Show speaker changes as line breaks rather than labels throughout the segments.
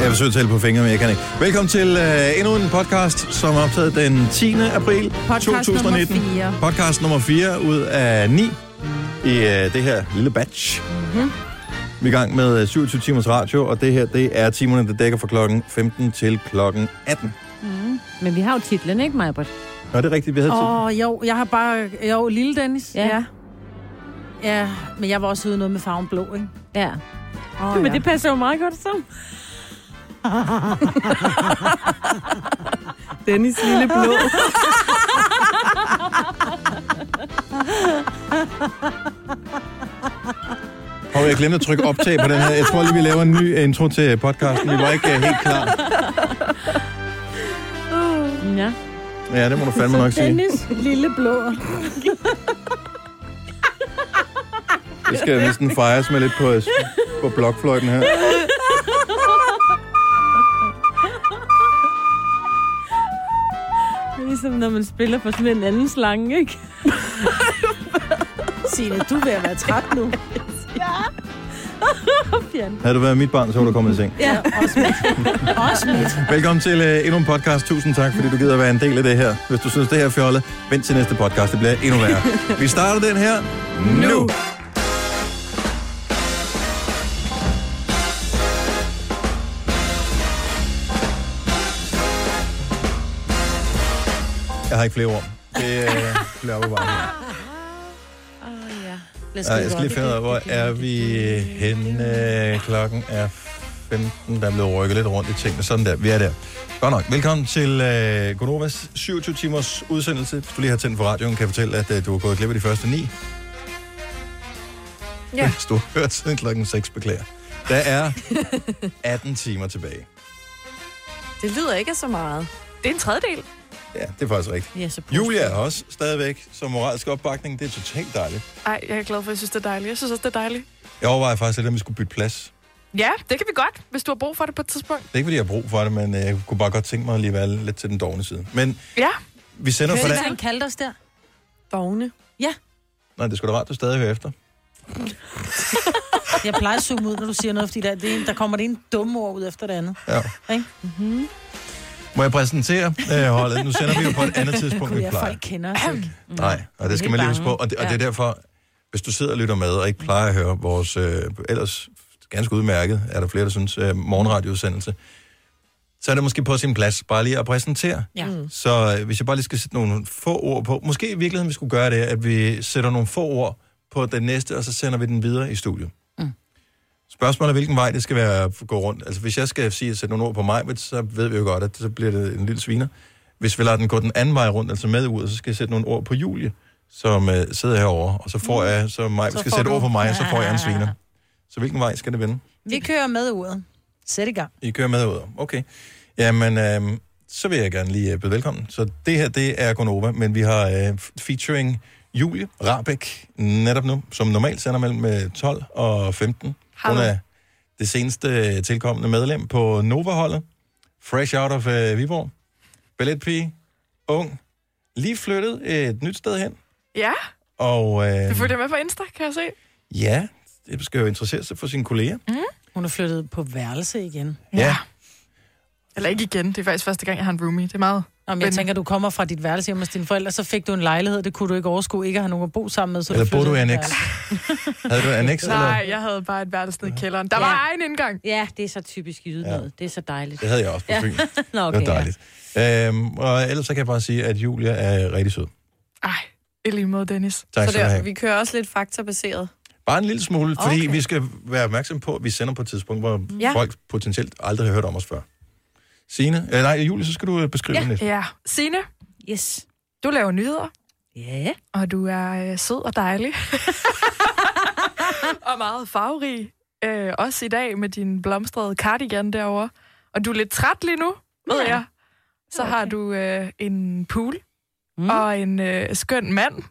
Jeg forsøger at tælle på fingre, men jeg kan ikke. Velkommen til øh, endnu en podcast, som er optaget den 10. april
Podcast
2019.
nummer fire.
Podcast nummer 4 ud af 9 i øh, det her lille batch.
Mm-hmm.
Vi er i gang med øh, 27 timers radio, og det her det er timerne, der dækker fra klokken 15 til klokken 18.
Mm. Men vi har jo titlen, ikke, Majbert?
Nå, det er rigtigt, vi havde tid.
Åh, oh, jo, jeg har bare... Jo, lille Dennis.
Ja.
ja. men jeg var også ude i noget med farven blå, ikke?
Ja.
Oh,
Men det passer jo meget godt sammen. Dennis lille blå.
Hov, jeg glemte at trykke optag på den her. Jeg tror lige, vi laver en ny øh, intro til podcasten. Vi var ikke øh, helt klar.
Ja.
Ja, det må du fandme nok sige.
Uh. Dennis, lille blå.
Det skal næsten fejres med lidt på, øh, på blokfløjten her.
Det er ligesom, når man spiller for sådan en anden slange, ikke?
Signe, du er ved at være træt nu.
Fjern.
Havde du været mit barn, så var du kommet i seng.
Ja.
også mit. også mit.
Velkommen til øh, endnu en podcast. Tusind tak, fordi du gider at være en del af det her. Hvis du synes, det her er fjollet, vent til næste podcast. Det bliver endnu værre. Vi starter den her nu. Jeg har ikke flere ord. Det øh, bliver opbevaret.
Åh, ja.
Lad
Ej, jeg skal lige finde ud af, hvor er vi henne? Klokken er 15. Der er blevet rykket lidt rundt i tingene. Sådan der. Vi er der. Godt nok. Velkommen til øh, Gonovas 27 timers udsendelse. Hvis du lige har tændt for radioen, kan jeg fortælle, at øh, du har gået glip af de første ni.
Ja.
Hvis du har hørt siden klokken 6, beklager. Der er 18 timer tilbage.
Det lyder ikke af så meget. Det er en tredjedel.
Ja, det er faktisk rigtigt.
Ja, så pudsigt.
Julia er også stadigvæk som moralsk opbakning. Det er totalt dejligt.
Ej, jeg er glad for, at jeg synes, det er dejligt. Jeg synes også, det er dejligt.
Jeg overvejer faktisk, lidt, om vi skulle bytte plads.
Ja, det kan vi godt, hvis du har brug for det på et tidspunkt.
Det er ikke, fordi jeg har brug for det, men øh, jeg kunne bare godt tænke mig at lige være lidt til den dårlige side. Men
Ja.
vi sender for
Ved du,
det.
hvad han kaldte os der?
Dogne.
Nej, det skulle da rart, du stadig hører efter.
Jeg plejer at zoome ud, når du siger noget, fordi der, det er en, der kommer det en dumme ord ud efter det andet.
Ja.
Ikke? Mhm.
Må jeg præsentere øh, holdet? Nu sender vi jo på et andet tidspunkt,
Kunne
vi
jeg,
plejer.
folk kender os ikke. Mm.
Nej, og det skal man lige huske på. Og det, og det er derfor, hvis du sidder og lytter med, og ikke plejer at høre vores øh, ellers ganske udmærket, er der flere, der synes, øh, morgenradioudsendelse, så er det måske på sin plads bare lige at præsentere.
Ja. Mm.
Så øh, hvis jeg bare lige skal sætte nogle få ord på, måske i virkeligheden vi skulle gøre det, at vi sætter nogle få ord på den næste, og så sender vi den videre i studiet. Mm.
Mm.
Spørgsmålet er, hvilken vej det skal være at gå rundt. Altså hvis jeg skal sige at sætte nogle ord på mig, så ved vi jo godt, at så bliver det en lille sviner. Hvis vi lader den gå den anden vej rundt, altså med ud, så skal jeg sætte nogle ord på Julie, som øh, sidder herovre, og så får jeg, så mig,
Mm. Så
skal
får
sætte
du-
ord på mig, og så får jeg en sviner. Så hvilken vej skal det vende?
Vi kører med uret. Sæt i gang.
I kører med ud. Okay. Jamen, øh, så vil jeg gerne lige øh, byde velkommen. Så det her, det er Gonova, men vi har øh, featuring Julie Rabeck netop nu, som normalt sender mellem øh, 12 og 15. Hun
Hallo.
er det seneste øh, tilkommende medlem på Nova-holdet. Fresh out of øh, Viborg. Balletpige. Ung. Lige flyttet et nyt sted hen.
Ja,
Og
du
øh,
følger med på Insta, kan jeg se.
ja, det skal jo interessere sig for sine kolleger.
Hun er flyttet på værelse igen.
Ja.
Eller ikke igen. Det er faktisk første gang, jeg har en roomie. Det er meget.
Om jeg
Men-
tænker, du kommer fra dit værelse hjemme hos dine forældre, så fik du en lejlighed, det kunne du ikke overskue, ikke at have nogen at bo sammen med. Så
Eller bor
flyttede
du i
ind
annex?
der.
Havde du annex? Eller?
Nej, jeg havde bare et værelse nede i kælderen. Der var
Ja.
egen indgang.
Ja, det er så typisk jyde noget. Det er så dejligt.
Det havde jeg også på Fyn.
Nå, okay.
Det var dejligt. Øhm, og ellers så kan jeg bare sige, at Julia er rigtig sød.
Ej, i lige måde, Dennis.
Tak
Så
skal du
der,
have.
vi kører også lidt faktabaseret.
Bare en lille smule, fordi
Okay.
vi skal være opmærksom på, at vi sender på et tidspunkt, hvor ja.
Ja.
folk potentielt aldrig har hørt om os før. Signe, øh, nej, Julie, så skal du øh, beskrive
Ja.
den lidt.
ja. Signe,
Ja. Yes.
du laver nyheder,
Ja.
og du er øh, sød og dejlig. og meget farverig. Øh, også i dag med din blomstrede cardigan derovre. Og du er lidt træt lige nu, ved
Ja.
jeg. Så har du øh, en pool mm. og en øh, skøn mand,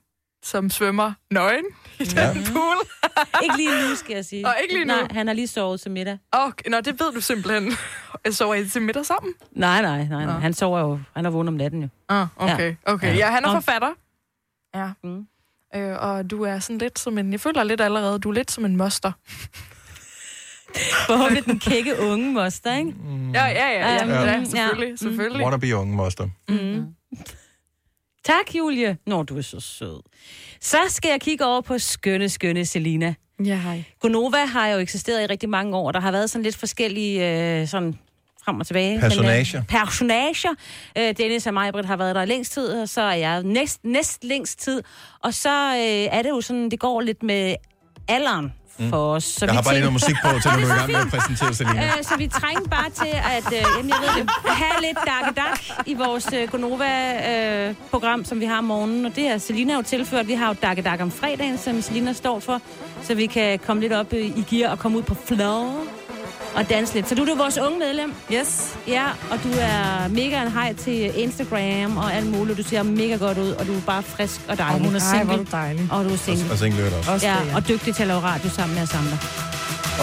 som svømmer nøgen i den
Ja.
pool.
Ikke lige nu, skal jeg sige.
Og ikke lige nu.
Nej, han har lige sovet til middag.
Og, nå, det ved du simpelthen. Jeg sover I til middag sammen?
Nej, nej, nej. nej.
Nå.
Han sover jo. Han er vågen om natten jo.
Ah, okay, okay. Ja, han er
Nå.
forfatter. Ja.
Mm.
Øh, og du er sådan lidt som en... Jeg føler lidt allerede, du er lidt som en moster.
Forhåbentlig den kække unge moster, ikke?
Ja, ja, ja. ja,
Ja,
ja, ja
mm,
selvfølgelig,
ja.
selvfølgelig.
Wannabe unge moster.
Mm. Tak, Julie. Nå, du er så sød. Så skal jeg kigge over på skønne, skønne Selina.
Ja, hej.
Gonova har jo eksisteret i rigtig mange år. Der har været sådan lidt forskellige øh, sådan frem og tilbage.
Personager.
Men, øh, personager. Øh, Dennis og mig, Britt, har været der længst tid, og så er jeg næst, næst længst tid. Og så øh, er det jo sådan, det går lidt med alderen for os. Så
Mm. Jeg har
vi
bare lige
tænker-
noget musik på, til når du er i gang med at præsentere Selina.
Øh, så vi trænger bare til at øh, jamen, jeg ved det, have lidt dak i vores øh, Gonova-program, som vi har om morgenen. Og det har Selina jo tilført. Vi har jo dak dak om fredagen, som Selina står for, så vi kan komme lidt op øh, i gear og komme ud på floor og danse lidt. Så du er jo vores unge medlem.
Yes.
Ja, og du er mega en hej til Instagram og alt muligt. Du ser mega godt ud, og du er bare frisk og
Og
dejlig.
hun er
Ej, hvor er
single.
du dejlig.
Og du er single.
Og single også.
Også det,
Ja, og dygtig til at lave radio sammen med os andre.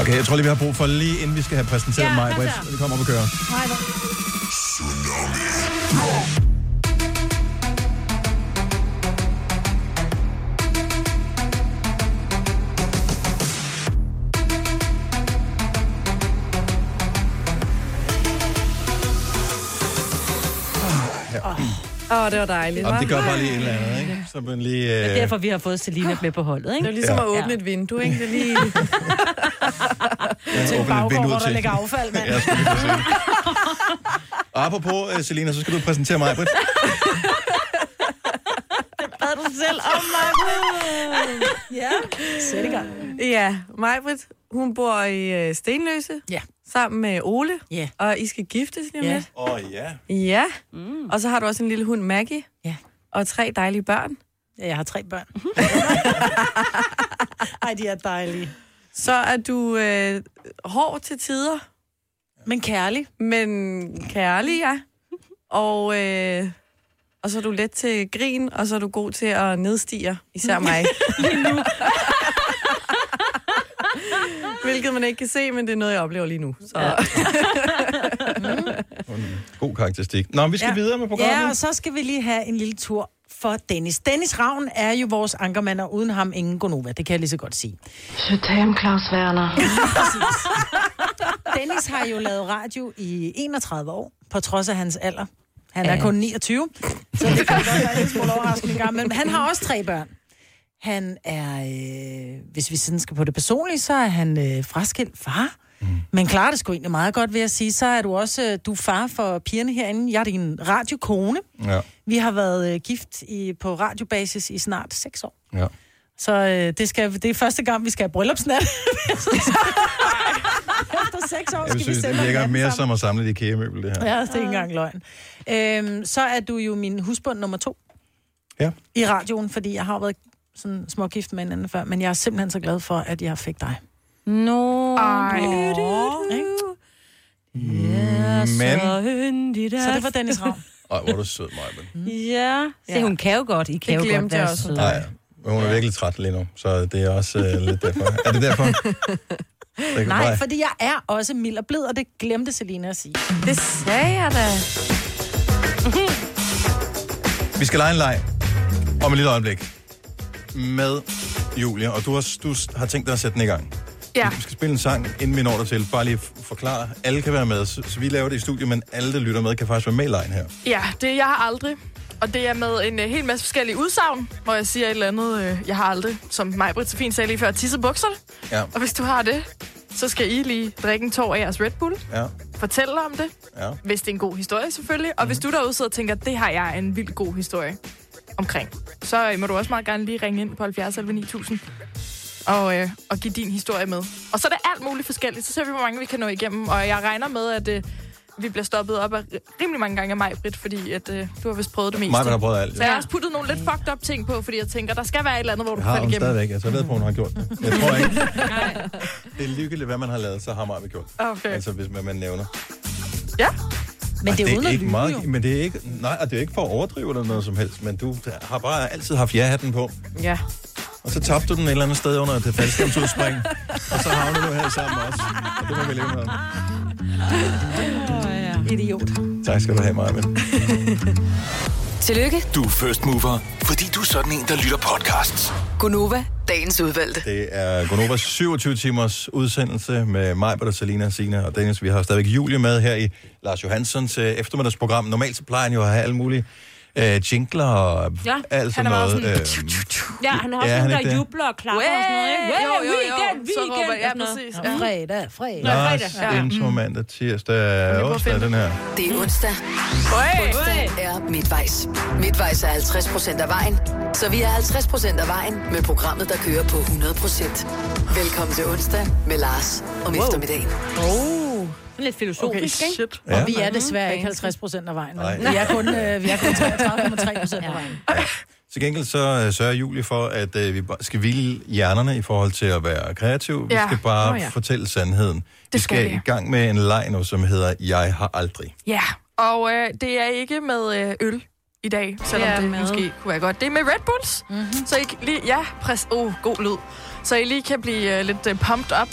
Okay, jeg tror lige, vi har brug for lige inden vi skal have præsenteret
Ja,
mig,
kom så.
Britt. Vi kommer op og kører.
Hej, hvor-
Åh, oh, det var dejligt.
Jamen, det gør bare lige et eller andet, ikke? Så man lige...
Det er
Øh...
derfor, vi har fået Selina med på holdet, ikke?
Det var ligesom
Ja.
ja. at åbne
Ja.
et vindue, ikke? Det er lige...
Ja,
Til
åbne
en
et
baggård,
vindue
hvor
til.
der ligger affald, mand.
Ja, skulle lige til at sige. Og apropos, øh, Selina, så skal du præsentere mig, Britt.
bad du selv om mig.
ja. Sæt i gang. Ja, Majbrit, hun bor i øh, Stenløse.
Ja.
Sammen med Ole.
Ja.
Og I skal giftes lige om
Ja.
lidt.
Åh, oh, ja.
Ja. Mm. Og så har du også en lille hund, Maggie.
Ja.
Og tre dejlige børn.
Jeg har tre børn. Ej, de er dejlige.
Så er du øh, hård til tider,
Men kærlig.
men kærlig, ja. Og, øh, og så er du let til grin, og så er du god til at nedstige, især mig. Hvilket man ikke kan se, men det er noget, jeg oplever lige nu. Så. Ja.
God karakteristik. Nå, men vi skal ja.
Ja.
videre med programmet.
Ja, og så skal vi lige have en lille tur for Dennis. Dennis Ravn er jo vores ankermand, og uden ham ingen Gonova. Det kan jeg lige så godt sige.
Je t'aime, Claus Werner.
Dennis har jo lavet radio i 31 år, på trods af hans alder. Han er
Ja.
kun 29, så det kan godt være en lille smule overraskende i gang. Men han har også tre børn. Han er, øh, hvis vi sådan skal på det personlige, så er han øh, fraskilt far. Mm. Men klarer det sgu egentlig meget godt ved at sige, så er du også øh, du er far for pigerne herinde. Jeg er din radiokone.
Ja,
Vi har været øh, gift i, på radiobasis i snart seks år.
ja.
Så øh, det, skal, det er første gang, vi skal have bryllupsnat. Efter seks år
Jeg vil
skal vi
synes, det
stemme
virker
om
mere
natten
som at samle et IKEA-møbel, det her.
Ja, det er ikke engang løgn. Øhm, så er du jo min husbund nummer to
Ja.
i radioen, fordi jeg har jo været sådan smågift med en anden før, men jeg er simpelthen så glad for, at jeg fik dig.
Nå,
Ej.
Ikke?
Ja,
Men-
så hyndigt
Mm. Så det var Dennis Ravn.
Ej, hvor er du sød, mig, men.
Ja, se,
Ja.
hun kan jo godt. I kan jo godt
glemte jeg
være
også.
søde.
Nej, men hun er virkelig træt lige nu, så det er også øh, lidt derfor. Er det derfor? Det kan
Nej,
bare-
fordi jeg er også mild og blid, og det glemte Selina at sige.
Det sagde jeg da.
Vi skal lege en leg om et lille øjeblik med Julia, og du har, du har tænkt dig at sætte den i gang.
Ja,
Vi skal spille en sang, inden vi når der til. Bare lige f- forklare. Alle kan være med, så, så vi laver det i studiet, men alle, der lytter med, kan faktisk være med i lejen her.
ja, det er jeg har aldrig. Og det er med en øh, hel masse forskellige udsagn, hvor jeg siger et eller andet, øh, jeg har aldrig, som Majbrit så fint sagde lige før, tisse bukserne.
Ja,
Og hvis du har det, så skal I lige drikke en tår af jeres Red Bull,
ja,
fortælle om det,
ja.
hvis det er en god historie selvfølgelig. Og hvis du derude sidder og tænker, det har jeg en vild god historie omkring, så øh, må du også meget gerne lige ringe ind på 70 11 9000 og, øh, og give din historie med. Og så er det alt muligt forskelligt, så ser vi, hvor mange vi kan nå igennem. Og jeg regner med, at øh, vi bliver stoppet op af rimelig mange gange af mig, Britt, fordi at, øh, du har vist prøvet det meste.
Mig, har prøvet alt.
så jeg har også puttet nogle lidt fucked up ting på, fordi jeg tænker, der skal være et eller andet, hvor du
Jeg
kan
har
falde
hun stadigvæk.
igennem.
Altså, jeg ved på, hun har gjort det. Jeg tror ikke. Det er lykkeligt, hvad man har lavet, så har Maja gjort.
Okay.
Altså, hvis man, man nævner. Altså,
Ja.
Men det er,
det
uden
er
at
ikke
lyve,
meget,
jo.
men det er ikke, nej, og det er ikke for at overdrive eller noget som helst, men du har bare altid haft ja-hatten på,
Ja.
og så tabte du den et eller andet sted under det faldskærmsudspring, og så havner du her sammen også, og det må vi leve med.
Mm.
Idiot.
Tak skal du have, Maja.
Du er first mover, fordi du er sådan en, der lytter podcasts. Gunova, dagens udvalgte.
Det er Gonovas 27 timers udsendelse med mig, Britta, Selina, Sina og Dennis. Vi har stadigvæk Julie med her i Lars Johanssons øh, eftermiddagsprogram. Normalt så plejer han jo at have alle mulige øh, jingler og
Ja,
alt
han
sådan
er meget
noget.
sådan-
øhm,
Ja, han har
Ja,
også
han
ja,
er
nogen,
ikke
der
det.
jubler og klapper og sådan noget, ikke?
Jo, jo, jo.
weekend,
Så
weekend,
råber, ja,
og sådan noget.
præcis.
Ja. Fredag, fredag.
Nå.
Lars,
fredag. Ja. Mm.
intro mandag, tirsdag,
prøve at
onsdag,
finde
den her.
Det er onsdag. Onsdag er midtvejs. Midtvejs er 50% af vejen, så vi er 50% af vejen med programmet, der kører på 100%. Velkommen til onsdag med Lars om wow. eftermiddagen.
Sådan lidt filosofisk, okay, ikke?
shit.
Ja.
Og vi er desværre ikke 50 procent af vejen.
Nej.
vel? Vi er kun, øh, vi er kun 33,3 procent af vejen.
Til gengæld så øh, sørger Julie for, at øh, vi bare skal hvile hjernerne i forhold til at være kreative. Vi
Ja.
skal bare
Nå ja.
fortælle sandheden. Det vi
skal
skal
vi.
i gang med en leg nu, som hedder Jeg har aldrig.
Ja, og øh, det er ikke med øh, øl i dag, selvom
Det er Mhm.
det, det
med-
måske kunne være godt. Det er med Red Bulls, mm-hmm. så I kan lige, ja, præs, oh, god lyd. Så I lige kan blive øh, lidt øh, pumped op.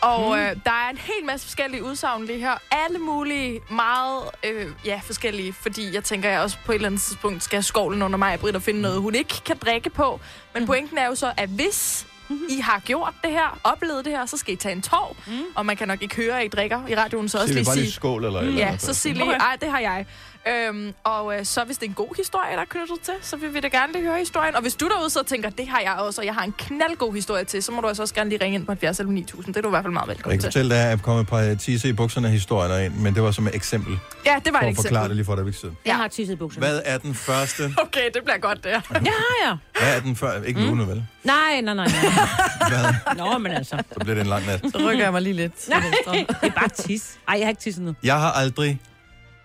Og mm. øh, der er en hel masse forskellige udsagn lige her. Alle mulige meget øh, ja, forskellige, fordi jeg tænker, jeg også på et eller andet tidspunkt skal have skovlen under mig, Britt, og finde noget, hun ikke kan drikke på. Men pointen er jo så, at hvis I har gjort det her, oplevet det her, så skal I tage en tov. Mm-hmm. Mm. Og man kan nok ikke høre, at I drikker i radioen, så også
Skal vi
lige
bare
sige...
lige skål eller et eller
Ja,
andet?
så sig lige, ej, det har jeg. Øhm, og øh, så hvis det er en god historie, der er knyttet til, så vil vi da gerne lige høre historien. Og hvis du derude så tænker, det har jeg også, og jeg har en knaldgod historie til, så må du altså også gerne lige ringe ind på 70 eller 9000. Det er du i hvert fald meget
Jeg
velkommen
kan
til.
fortælle dig, at jeg kom et par øh, tisse i bukserne historier ind, men det var som et eksempel, for
Ja, det var et
at forklare det
eksempel.
lige for dig, ikke siden.
Jeg har tisset i bukserne.
Hvad er den første?
Okay, det bliver godt, det her.
Ja, har jeg.
Hvad er den første? Ikke
Mm.
nu, nu vel?
Nej, nej, nej, nej. Nå, men altså.
Så bliver det en lang nat.
Så rykker jeg mig lige lidt. til venstre.
Det er bare tis. Ej, jeg har ikke tisset nu.
Jeg har aldrig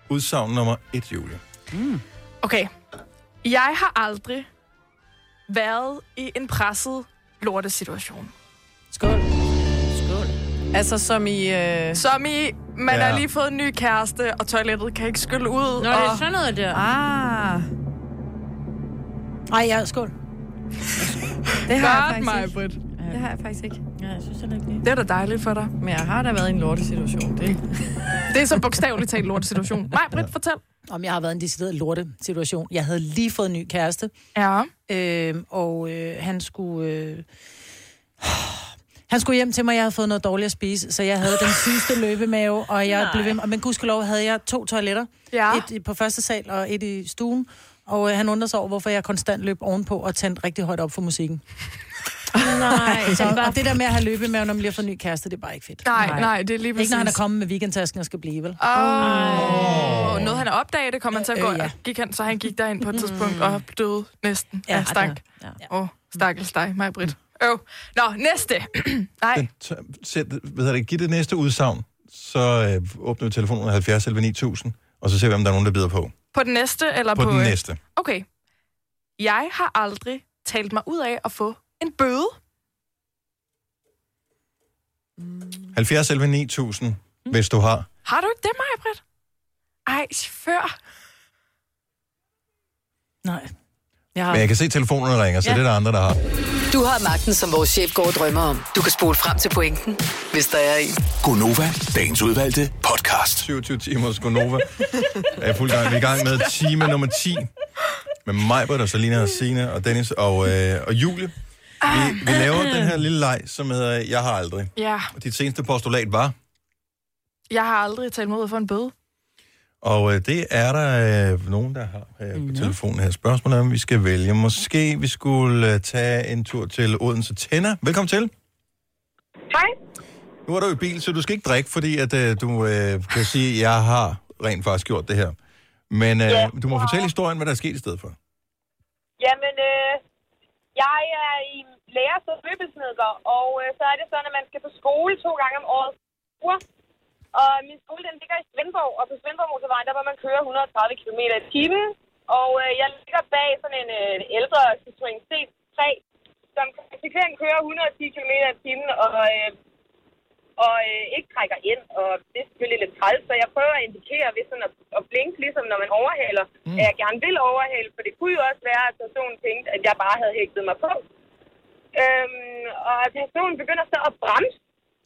udsagn nummer et, Julie.
Mm. Okay. Jeg har aldrig været i en presset lortesituation.
Skål.
Altså som i... Øh...
Som i, man
Ja.
har lige fået en ny kæreste, og toilettet kan ikke skylle ud.
Nå,
og...
det er sådan noget der.
Ah,
Ej, ja, skål.
det har jeg faktisk
Godt mig,
ikke.
Britt.
Det har jeg faktisk ikke.
Ja, jeg synes, det er det.
Det er da dejligt for dig.
Men jeg har da været i en lortesituation. Det.
Det er så bogstaveligt talt lortesituation. Nej, Britt, fortæl.
Om jeg har været i en decideret lorte situation. Jeg havde lige fået en ny kæreste,
Ja.
øh, og øh, han skulle... Øh, han skulle hjem til mig, jeg havde fået noget dårligt at spise, så jeg havde den sygeste løbemave, og jeg blev ved med, men gudskelov havde jeg to toiletter.
Ja.
Et i- på første sal og et i stuen. Og øh, han undrede sig over, hvorfor jeg konstant løb ovenpå og tændte rigtig højt op for musikken.
Nej, det
Så,
er bare...
og det der med at have løbemave, når man lige har fået en ny kæreste, det er bare ikke fedt.
Nej, nej, det er lige præcis.
Ikke når han er kommet med weekendtasken og skal blive, vel?
Åh, oh. noget han har opdaget, det kom han til at gå.
Øh, ja.
Gik han, så han gik derhen på et tidspunkt og døde næsten ja,
Ja,
af stank.
ja.
Åh, oh, stakkels dig, mig Britt. Øv. Nå, næste. nej,
Den t- sæt, hvad hedder det, giv det næste udsagn, så øh, åbner vi telefonen 70 11 9000, og så ser vi, om der er nogen, der bider på.
på den næste eller
På
på...
den
øh,
næste.
Okay. Jeg har aldrig talt mig ud af at få en bøde.
70 11 9000, hvis du har.
Har du ikke det, mig Britt? Ej, før.
Nej.
Ah.
Jeg har...
Men jeg kan se, at telefonerne ringer, så ja. det er der andre, der har.
Du har magten, som vores chef går og drømmer om. Du kan spole frem til pointen, hvis der er en.
Gonova, dagens udvalgte podcast.
27 timers Gonova. Jeg er fuld gang. Vi er i gang med time nummer 10. Med mig, og Salina og Sina og Dennis og, øh, og Julie. Vi, vi laver den her lille leg, som hedder Jeg har aldrig.
Ah. Ja,
Og dit seneste postulat var,
jeg har aldrig talt mig ud af at få en bøde.
og øh, det er der øh, nogen, der har øh, på telefonen her. Spørgsmålet er, om vi skal vælge. Måske vi skulle øh, tage en tur til Odense Tænder. Velkommen til.
Hej.
Nu er du i bil, så du skal ikke drikke, fordi at, øh, du øh, kan sige, at jeg har rent faktisk gjort det her. Men øh,
Ja.
du må fortælle historien, hvad der er sket i stedet for.
Jamen, øh, jeg er i lærer som løbesnedker, og øh, så er det sådan, at man skal på skole to gange om året. Og min skole, den ligger i Svendborg, og på Svendborg Motorvejen, der må man køre 130 km i timen. Og øh, jeg ligger bag sådan en øh, ældre Citroën C3, som konsekvent kører 110 km i timen, og, øh, og øh, ikke trækker ind. Og det er selvfølgelig lidt træls, så jeg prøver at indikere ved sådan at, at blinke, ligesom når man overhaler, mm. at jeg gerne vil overhale, for det kunne jo også være, at personen tænkte, at jeg bare havde hægtet mig på. Øhm, og personen begynder så at bremse,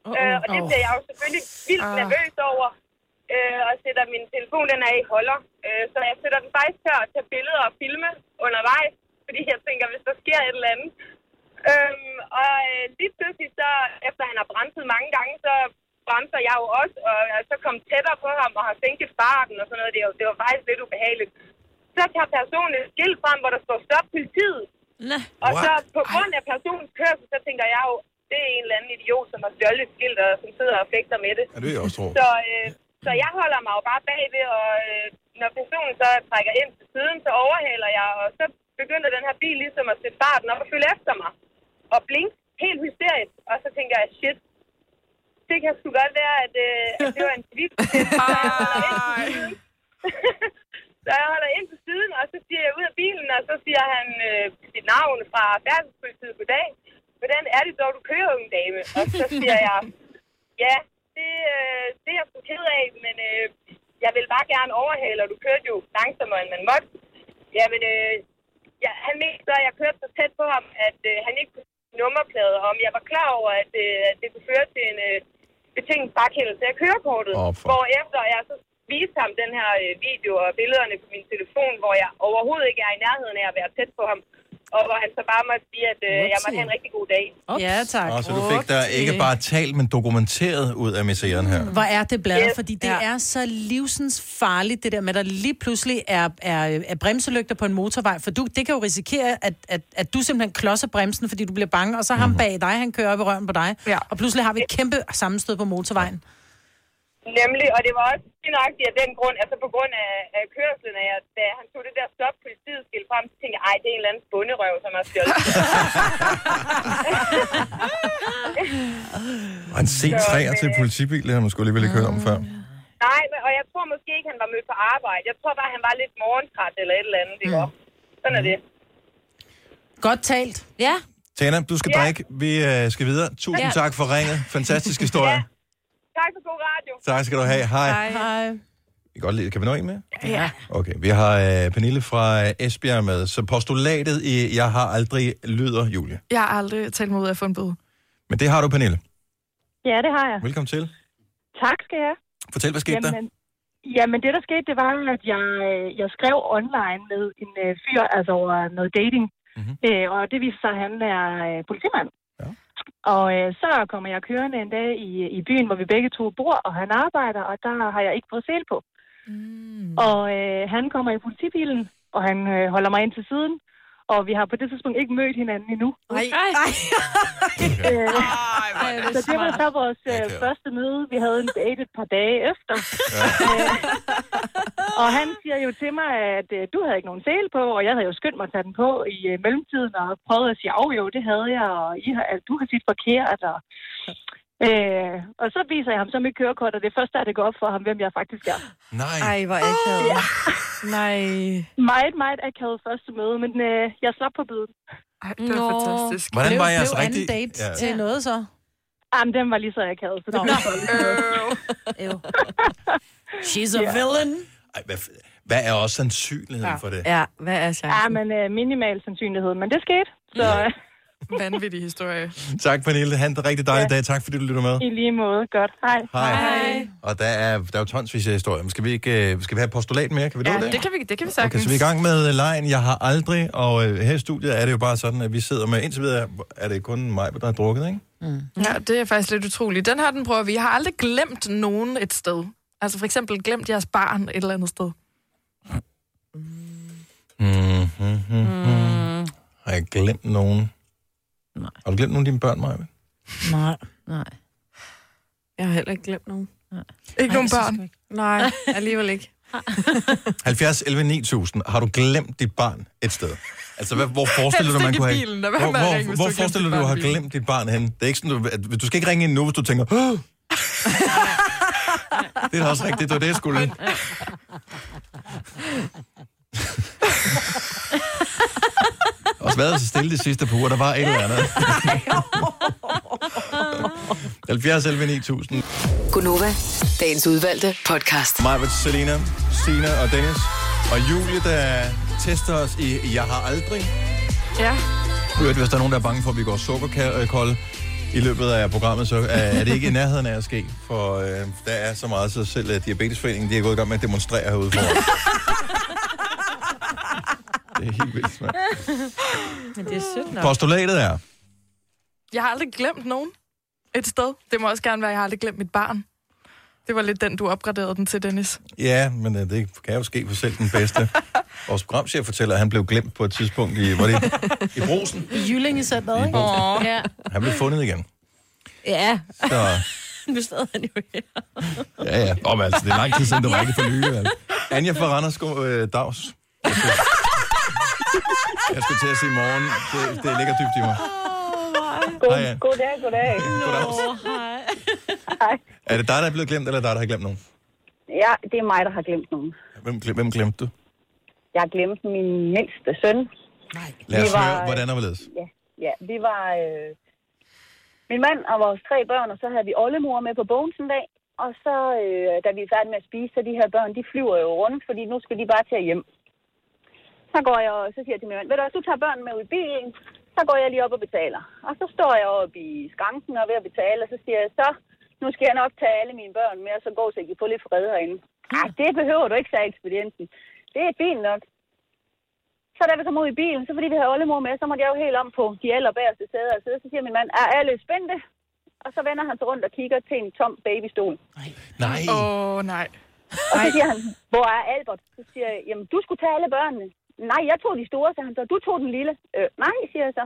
oh, oh, øh, og det bliver jeg jo selvfølgelig vildt oh. nervøs over, øh, og sætter min telefon, den er i holder. Øh, så jeg sætter den faktisk til at tage billeder og filme undervejs, fordi jeg tænker, hvis der sker et eller andet. Øhm, og øh, lige pludselig, så, efter han har bremset mange gange, så bremser jeg jo også, og jeg så kom tættere på ham og har sænket farten og sådan noget. Det, var- det var faktisk lidt ubehageligt. Så tager personen et skilt frem, hvor der står stop politiet.
Nå.
Og så
What?
på grund af personens kørsel, så tænker jeg jo, det er en eller anden idiot, som har stjålet et skilt, og som sidder og fægter med det.
Ja, det vil jeg også tro.
Så, øh, så jeg holder mig jo bare bagved, og øh, når personen så trækker ind til siden, så overhaler jeg, og så begynder den her bil ligesom at sætte farten op og følge efter mig. Og blink helt hysterisk, og så tænker jeg, shit, det kan sgu godt være, at, øh, at det var en vild. så jeg holder ind til siden, og så siger jeg ud af bilen, og så siger han øh, sit navn fra færdselspolitiet, goddag. Hvordan er det dog, du kører, unge dame? Og så siger jeg, Ja, det, øh, det er jeg sgu ked af, men øh, jeg vil bare gerne overhale, og du kørte jo langsommere, end man måtte. Jamen, øh, ja, han mente så, at jeg kørte så tæt på ham, at øh, han ikke kunne se nummerplader, og om jeg var klar over, at, øh, at det kunne føre til en øh, betinget frakendelse af kørekortet.
Åh, for-
Hvor efter jeg så viste ham den her øh, video og billederne på min telefon, hvor jeg overhovedet ikke er i nærheden af at være tæt på ham. Og hvor han så bare måtte sige, at øh, jeg måtte have en rigtig god dag.
Ja, tak.
Og så du fik der ikke bare talt, men dokumenteret ud af misseren her.
Hvor er det bladet,
Yes.
fordi det ja. er så livsens farligt, det der med, at der lige pludselig er, er, er bremselygter på en motorvej, for du, det kan jo risikere, at, at, at du simpelthen klodser bremsen, fordi du bliver bange, og så
Mhm.
ham bag dig, han kører op i røven på dig,
Ja.
og pludselig har vi et kæmpe sammenstød på motorvejen.
Nemlig, og det var også lige nøjagtigt af den grund, altså på grund af, af kørslen af, at da han tog det der stop politiet skilt frem, så tænkte jeg, ej, det er en eller anden bunderøv, som har stjålet.
Og en C3'er til politibilen, han måske alligevel ikke hørt om
Ah.
før.
Nej, men, og jeg tror måske ikke, han var mødt på arbejde. Jeg tror bare, han var lidt morgentræt eller et eller andet, det var. Sådan er det.
Godt talt.
Ja,
Tana, du skal
Ja.
drikke. Vi øh, skal videre. Tusind
Ja.
tak for ringet. Fantastisk historie.
Ja. Tak for god radio.
Tak skal du have. Hej. Hej.
Hej.
Vi kan godt lide. Kan vi nå en med?
Ja.
Okay, vi har øh, Pernille fra øh, Esbjerg med. Så postulatet i Jeg har aldrig lyder, Julie.
Jeg har aldrig talt mig ud af at få en bøde.
Men det har du, Pernille.
Ja, det har jeg.
Velkommen til.
Tak skal jeg.
Fortæl, hvad skete der?
Jamen, jamen, det der skete, det var, at jeg, øh, jeg skrev online med en øh, fyr, altså over noget dating.
Mhm.
Mm-hmm. Øh, og det viste sig, at han er øh, politimand.
Ja.
Og øh, så kommer jeg kørende en dag i, i byen, hvor vi begge to bor, og han arbejder, og der har jeg ikke fået sel på. Mm. Og øh, han kommer i politibilen, og han øh, holder mig ind til siden, og vi har på det tidspunkt ikke mødt hinanden endnu.
Nej,
Ej.
nej.
Øh,
øh,
så det var så vores øh,
Akavet.
første møde. Vi havde en date et par dage efter. Øh, og han siger jo til mig, at øh, du havde ikke nogen sele på, og jeg havde jo skyndt mig at tage den på i øh, mellemtiden, og prøvet at sige, af jo, det havde jeg, og I har, altså, du har tit forkert. Og, øh, og så viser jeg ham så mit kørekort, og det er først, der det går op for ham, hvem jeg faktisk er.
Nej.
Ej, hvor akavet. Nej.
Meget, meget akavet første møde, men øh, jeg slap på biden.
Ej, det var
Nå.
fantastisk.
Hvordan
blev,
var jeres
blev
rigtige...
anden date
Ja.
til noget så?
Jamen, den var lige så akavet, så det
Nå.
blev dårligt.
Øv.
She's a villain.
Ej, hvad, f- hvad er også sandsynligheden ja. for det?
Ja, hvad er chancen?
Ja, men øh, minimal sandsynlighed, men det skete. Så øh,
Vanvittig historie.
Tak, Pernille. Han en rigtig dejlig ja. dag. Tak, fordi du lytter med.
i lige måde. Godt. Hej.
Hej. Og der er, der er jo tonsvis af historier. Men skal vi, ikke, øh, skal vi have et postulat mere? Kan vi nå
Ja, det kan vi, det kan vi sagtens.
Okay, så vi er i gang med øh, lejen. Jeg har aldrig, og øh, her i studiet er det jo bare sådan, at vi sidder med, indtil videre er det kun mig, der har drukket, ikke?
Ja, det er faktisk lidt utroligt. Den her, den prøver vi. Jeg har aldrig glemt nogen et sted. Altså for eksempel glemt jeres barn et eller andet sted.
Mm-hmm.
Mm.
Har jeg glemt nogen? Nej. Har du glemt nogen af dine børn, Maja?
Nej.
Nej.
Jeg har heller ikke glemt nogen.
Ikke nogen børn.
Nej, alligevel ikke.
70, 11, 9000. Har du glemt dit barn et sted? Altså, hvad, hvor forestiller du,
Helst
man kunne
ikke i
have...
bilen, og
hvor,
hvad med at ringe,
hvor,
hvis
hvor
du har glemt
forestiller
dit
du, du har glemt dit barn
barn i bilen?
hen? Det er ikke sådan, du, at, du skal ikke ringe ind nu, hvis du tænker... "Åh!" det er da også rigtigt, det var det, jeg skulle. også været så stille de sidste par uger, der var et eller andet. 70, 11, 9000.
Gunova, dagens udvalgte podcast.
Majbert, Selina, Sina og Dennis. Og Julie, der tester os i Jeg har aldrig.
Ja.
Hørt, hvis der er nogen, der er bange for, at vi går sukkerkolde i løbet af programmet, så er- er det ikke i nærheden af at ske. For øh, der er så meget, så øh, selv at Diabetesforeningen de er gået i gang med at demonstrere herude for Det er helt vildt, mand.
Men det er sødt nok.
Postulatet er,
Jeg har aldrig glemt nogen et sted. Det må også gerne være, at jeg har aldrig glemt mit barn. Det var lidt den, du opgraderede den til, Dennis.
ja, men øh, det kan jo ske for selv den bedste. Vores programchef fortæller, at han blev glemt på et tidspunkt i, var det i Brosen?
I Jyllinge så bad, ikke?
Åh.
Ja.
Han blev fundet igen.
ja,
Så,
nu sidder han jo her.
ja, ja. Nå, men altså, det er lang tid siden, der var ikke for nylig, vel? Anja fra Randers, god, øh, dags. Jeg skulle, jeg skulle til at sige morgen. Det, det ligger dybt i mig.
God,
Hej, Anne.
goddag, goddag.
Goddags.
Hej.
Er det dig, der er blevet glemt, eller er det dig, der har glemt nogen?
Ja, det er mig, der har glemt nogen.
Hvem, glem- hvem glemte du?
Jeg har glemt min mindste søn.
Lad os
Det var-
høre, hvordan og hvorledes.
Ja, ja vi var... Øh, min mand og vores tre børn, og så havde vi oldemor med på bogen sådan en dag. Og så, øh, da vi er færdige med at spise, så de her børn, de flyver jo rundt, fordi nu skal de bare til at hjem. Så går jeg, og så siger jeg til min mand, ved du hvad, du tager børnene med ud i bilen, så går jeg lige op og betaler. Og så står jeg oppe i skranken og er ved at betale, og så siger jeg, så nu skal jeg nok tage alle mine børn med, og så gå, så jeg kan få lidt fred herinde. Ej, det behøver du ikke, sagde ekspedienten. Det er fint nok. Så da vi kom ud i bilen, så fordi vi havde oldemor med, så måtte jeg jo helt om på de allerbæreste sæder og sidde. Så siger min mand, er alle spændte? Og så vender han sig rundt og kigger til en tom babystol.
Nej.
Åh, oh, nej.
Og så siger han, hvor er Albert? Så siger jeg, jamen du skulle tage alle børnene. Nej, jeg tog de store, så han så. Du tog den lille. Øh, nej, siger jeg så.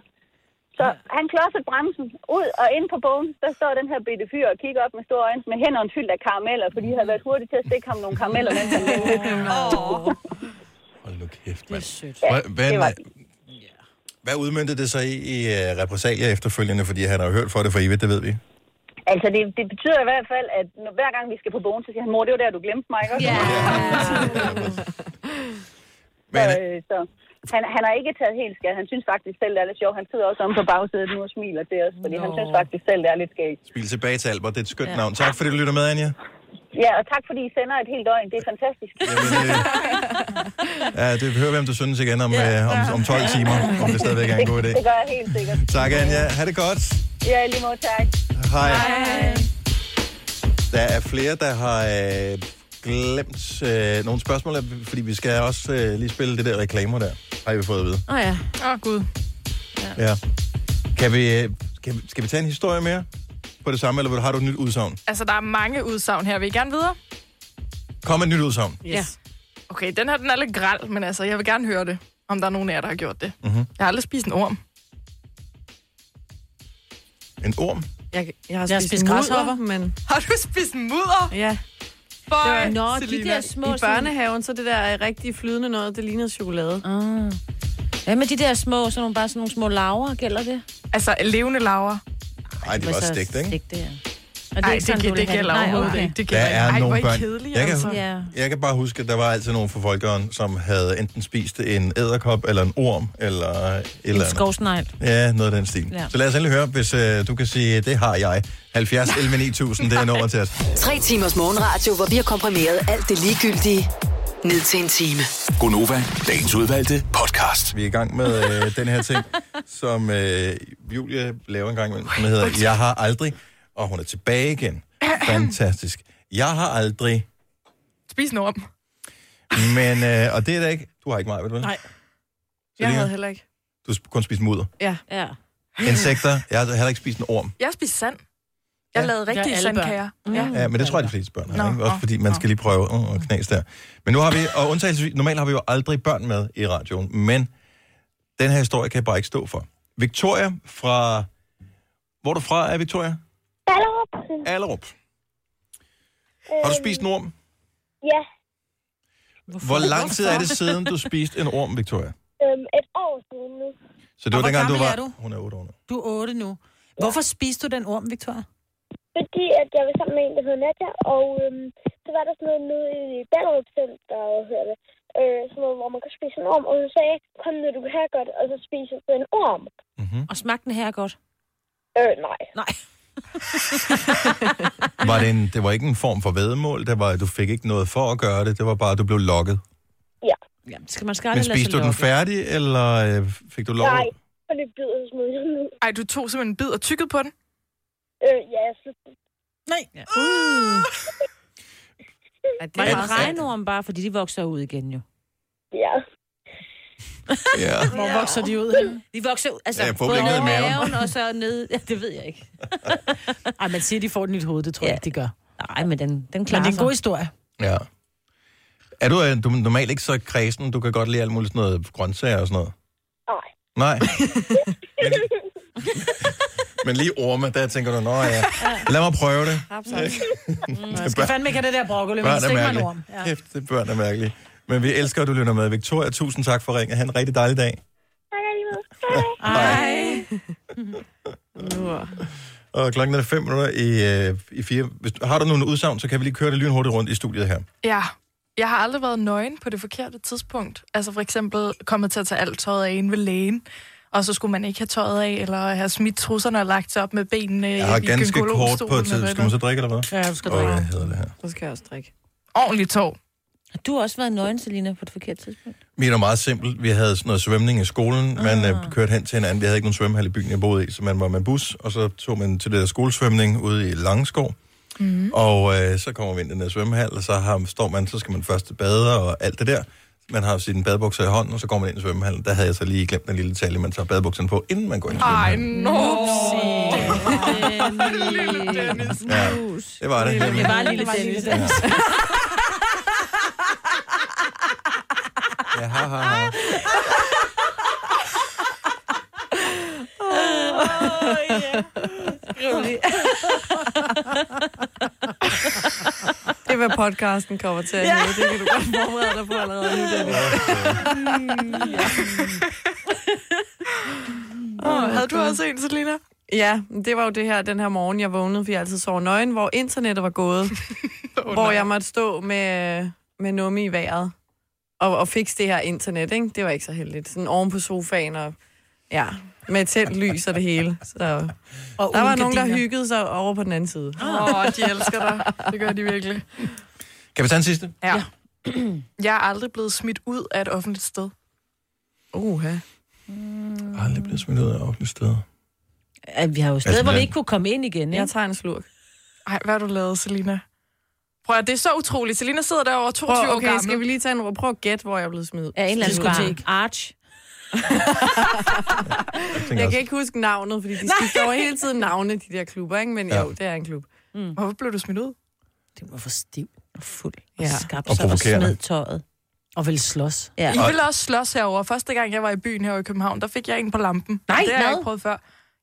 Så han klodset bremsen ud og ind på bogen. Der står den her bitte fyr og kigger op med store øjne med hænderne fyldt af karameller, fordi de havde været hurtige til at stikke ham nogle karameller, mens han vendte.
Hold nu kæft,
Det er
mand.
sødt.
Hvad,
det
hvad,
var-
hvad udmyndte det så i, i uh, repressalier efterfølgende? Fordi han har jo hørt for det for evigt, det ved vi.
Altså, det, det betyder i hvert fald, at når, hver gang vi skal på bogen, så siger han, mor, det var der, du glemte mig, ikke? også?"
Ja.
Men,
Så, øh, så han, han har ikke taget helt skade. Han synes faktisk selv, det er lidt sjovt. Han sidder også om på bagsædet nu og smiler til os, fordi Nå. han synes faktisk selv, det er lidt skægt.
Spil tilbage til Albert. Det er et skønt ja. navn. Tak fordi du lytter med, Anja.
Ja, og tak fordi I sender et helt døgn. Det er fantastisk.
Jamen, øh, ja, det hører vi, om du synes igen om, øh, om, om 12 timer, om det stadigvæk er en god
Det
idé.
gør jeg helt sikkert.
Tak, Anja. Ha' det godt.
Ja, i lige måde, tak.
Hej. Der er flere, der har øh, glemt øh, nogle spørgsmål, fordi vi skal også øh, lige spille det der reklamer der, har vi fået at vide.
Åh oh, ja.
Åh, oh, Gud.
Ja. Kan vi, øh, kan, vi- skal vi tage en historie mere på det samme, eller vil du- har du et nyt udsagn?
Altså, der er mange udsagn her. Vil I gerne videre?
Kom med et nyt udsagn.
Yes. Ja.
Okay, den her den er lidt græl, men altså, jeg vil gerne høre det. Om der er nogen af jer, der har gjort det. Mm-hmm.
Mhm.
Jeg har aldrig spist en orm.
En orm?
Jeg, jeg har
Jeg har
spist,
spist
mudder,
græshopper.
men...
Har du spist mudder?
Ja.
Føj,
Nå, de
Selina.
der små... I børnehaven, så det der rigtig flydende noget, det lignede chokolade.
Ah. Hvad med de der små, sådan nogle, bare sådan nogle små laver, gælder det?
Altså, levende laver.
Nej, det var stegt, ikke?
Stigt, det er. Og det
Nej,
ikke
det,
sådan,
gi-
du
det
vil have
gælder
Nej,
overhovedet
okay.
ikke. Det
Der
gælder
er
ikke. Ej, hvor
nogle
er I
børn.
kedelige,
jeg, kan,
altså.
Ja.
jeg kan bare huske, at der var altid nogen fra folkeren, som havde enten spist en æderkop, eller en orm, eller et eller
En
andet.
skovsnegl.
Ja, noget af den stil. Ja.
Ja.
Så lad os endelig høre, hvis øh, du kan sige, det har jeg. 70 11 9000, det er nummer til os.
Tre timers morgenradio, hvor vi har komprimeret alt det ligegyldige ned til en time.
Gonova, dagens udvalgte podcast.
Vi er i gang med øh, den her ting, som øh, Julie laver en gang imellem, som hedder Jeg har aldrig, og hun er tilbage igen. Fantastisk. Jeg har aldrig,
Spis en orm.
men, øh, og det er da ikke, du har ikke meget, ved du vel?
Nej.
Jeg
Jeg
Selina? havde
havde heller ikke.
Du har sp- kun spist mudder.
Ja.
Insekter, jeg har heller ikke spist en orm.
Jeg har spist sand.
Ja.
Jeg
Mm.
lavede rigtige
Ja, alle
sandkager. Ja.
Ja, men det tror jeg, de fleste børn har,
Nå,
ikke? Også
nå,
fordi man
nå.
skal lige prøve uh, at knas der. Men nu har vi, og undtagelsesvis, normalt har vi jo aldrig børn med i radioen, men den her historie kan jeg bare ikke stå for. Victoria fra... Hvor er du fra, er Victoria?
Hallo.
Allerup. Har du spist en orm?
Øhm, Ja,
Hvor lang tid er det siden, du spiste en orm, Victoria?
øhm, et år siden nu.
Så det var
hvor
dengang, du
gammel
var...
er du?
Hun er 8 år nu.
Du er otte nu. Hvorfor spiste du den orm, Victoria?
Fordi at jeg var sammen med en, der hed Nadia, og øhm, så var der sådan noget nede i Ballerup Center, og hedder det, øh, sådan noget, hvor man kan spise en orm, og så sagde jeg, kom nu, du kan have godt, og så spiser du en orm.
Mm-hmm.
Og smagte den her godt?
Øh, nej.
Nej.
Var det, en, det var ikke en form for vedmål, det var, du fik ikke noget for at gøre det, det var bare, du blev lokket.
Jamen, skal man skal
Men
aldrig lade
spiste
sig
du den
lokke.
færdig, eller øh, fik du lov?
Nej, for det bider så smidt den ud.
Ej, du tog simpelthen en bid og tykkede på den.
Øh, ja, jeg slugte den.
Nej. Ja. Uh.
Mm.
Ej, det
Var
er
Ah, det
meget
en regnorm bare, fordi de vokser ud igen jo?
Ja.
Ja.
Hvor vokser de ud henne?
De vokser ud, altså,
Ja,
ja,
jeg får
både
blinket i
over
maven.
maven og så ned. Ja, det ved jeg ikke.
Ej, man siger, de får den i et hoved, det tror jeg
Ja.
ikke, de gør.
Nej, men den, den
Men
klarer
det er en god
sig.
historie.
ja. Er du, øh, du er normalt ikke så kredsen? Du kan godt lide alt muligt sådan noget grøntsager og sådan noget?
Nej.
Nej. Men, men lige orme, der tænker du, nå ja, lad mig prøve det.
Jeg skal fandme ikke have det der broccoli, men
Børn er
stik mig en orm.
mærkelige.
Ja.
Kæft, det børn er mærkelige. Men vi elsker, at du lytter med. Victoria, tusind tak for ringen. Ha' en rigtig dejlig dag.
Tak alligevel. Hej.
Ej.
Og klokken er fem minutter i, øh, i fire. Hvis, du- har du nogle udsagn, så kan vi lige køre det lynhurtigt rundt i studiet
Øh,
her.
Ja. Jeg har aldrig været nøgen på det forkerte tidspunkt. Altså for eksempel kommet til at tage alt tøjet af en ved lægen, og så skulle man ikke have tøjet af, eller have smidt trusserne og lagt sig op med benene
Jeg har
i
ganske kort
gynækologstolen
på et
eller
tid.
hvad
Skal man så drikke eller hvad?
Ja, du skal
Åh,
drikke.
hvad hedder det her?
Så skal jeg også drikke.
det er. Ordentligt tog.
Du har også været nøgen, Selina, på det forkerte tidspunkt.
Min er meget simpel. Vi havde sådan noget svømning i skolen. Man øh, kørte hen til hinanden. Vi havde ikke nogen svømmehal i byen, jeg boede i, så man var med bus, og så tog man til det der skolesvømning ude i Langskov. Mm. Og øh, så kommer vi ind i den der svømmehal, og så har, står man, så skal man først bade og alt det der. Man har sine badebukser i hånden, og så går man ind i svømmehallen. Der havde jeg så lige glemt en lille detalje, man tager badebukserne på, inden man går ind i
Ej,
svømmehallen.
no.
Lille Dennis.
Ja, det var det.
Det var lille
var lille
Dennis.
Dennis.
Ja, ha, ha, ha.
Det er, hvad podcasten kommer til at ja. hedde. Det kan du godt forberede dig på allerede nu. Dennis.
Havde du også en, Selina?
Ja, men det var jo det her, den her morgen, jeg vågnede, fordi jeg altid sov nøgen, hvor internettet var gået. oh, hvor jeg måtte stå med, med nummi i vejret og, og fikse det her internet, ikke? Det var ikke så heldigt. Sådan oven på sofaen og... Ja, med tændt lys og det hele. Så der
Og
var
uden
nogen, der
gardiner.
hyggede sig over på den anden side.
Åh, oh, de elsker dig. Det gør de virkelig.
Kan vi tage en sidste?
Ja. Jeg er aldrig blevet smidt ud af et offentligt sted.
Uha.
Jeg har aldrig blevet smidt ud af offentlige steder.
Ja, vi har jo et sted,
Altså,
hvor vi
men-
ikke kunne komme ind igen, ikke?
Jeg tager en slurk.
Ej, hvad har du lavet, Selina? Prøv at det er så utroligt. Selina sidder derovre 22
Prøv,
år
okay,
gammel.
skal vi lige tage en... Prøv at gætte, hvor jeg er blevet smidt. ud.
Af en eller anden
Diskotek.
bar. Arch.
Jeg, tænker
Jeg
også,
kan ikke huske navnet, fordi de skifter over hele tiden navne, de der klubber, ikke? Men
Ja.
jo, det er en klub.
Mm.
Hvorfor blev du smidt ud?
Det var for stiv og fuld.
Ja.
Ja.
Skab
Og
sig og
provokerende.
smed tøjet.
Og vil slås.
Ja.
I ville også slås herover. Første gang, jeg var i byen her i København, der fik jeg en på lampen.
Nej,
det har jeg
hvad?
ikke prøvet før.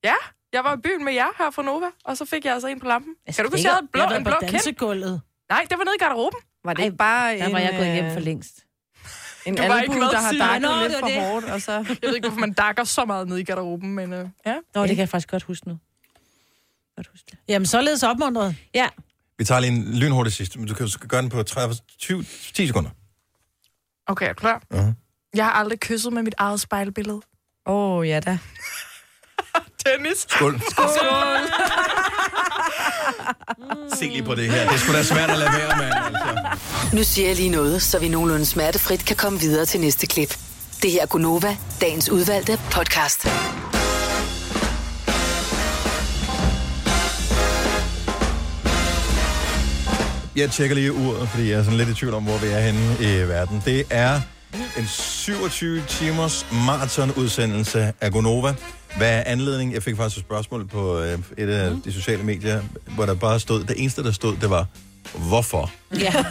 Ja, jeg var i byen med jer her fra Nova, og så fik jeg altså en på lampen.
Altså,
kan du kunne
det
se, jeg
er-
havde et blå,
jeg har
en
været
blå
på
kæm?
dansegulvet.
Nej, det var nede i garderoben.
Var det
Ej,
ikke bare en...
Der var jeg gået hjem for
øh,
længst.
En
Du var ikke
albu,
med,
der har
Signe.
dakket
Nå,
lidt
det
for
var det.
hårdt, og så...
Jeg ved ikke, hvorfor man dakker så meget nede i garderoben, men øh, ja.
Nå, det kan jeg faktisk godt huske nu. Godt huske det.
Jamen, således opmuntret.
Ja,
vi tager lige en lynhurtig sidste, men du kan du skal gøre den på 30, 20, 10 sekunder.
Okay, er du klar?
Mhm.
Jeg har aldrig kysset med mit eget spejlbillede.
Åh, oh, ja da.
Dennis!
Skål. Skål. Se lige på det her. Det er sgu da svært at lade være, mand. Altså.
Nu siger jeg lige noget, så vi nogenlunde smertefrit kan komme videre til næste klip. Det her er Gunova, dagens udvalgte podcast.
Jeg tjekker lige uret, fordi jeg er sådan lidt i tvivl om, hvor vi er henne i verden. Det er en 27 timers maratonudsendelse af Gonova. Hvad er anledningen? Jeg fik faktisk et spørgsmål på øh, et af de sociale medier, hvor der bare stod, det eneste, der stod, det var, hvorfor?
ja.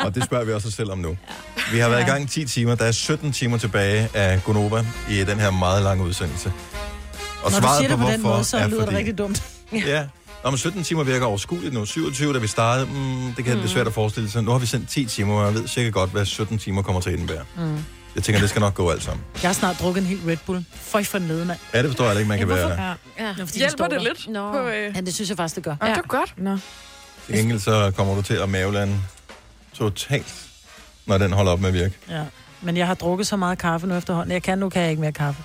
Og det spørger vi også os selv om nu. Vi har været i gang i 10 timer. Der er 17 timer tilbage af Gonova i den her meget lange udsendelse. Og
Når du
svaret
siger det på den
hvorfor
måde, så
er
lyder det
fordi-
rigtig dumt.
Ja. Nå, men 17 timer virker overskueligt nu. 27, da vi startede, mm, det kan det svært at forestille sig. Nu har vi sendt 10 timer, og jeg ved sikkert godt, hvad 17 timer kommer til at indebære. Mm. Jeg tænker, det skal nok gå alt sammen.
Jeg har snart drukket en helt Red Bull. Føj for nede, mand.
Ja, det forstår jeg ikke, man kan være.
ja.
Fordi den
Hjælper
står
det
der.
lidt?
Nå.
På, øh...
Ja, det synes jeg faktisk, det gør.
ja. det er godt.
Nå.
Til gengæld så kommer du til at mavelande totalt, når den holder op med at virke.
Ja. Men jeg har drukket så meget kaffe nu efterhånden. Jeg kan nu, kan jeg ikke mere kaffe.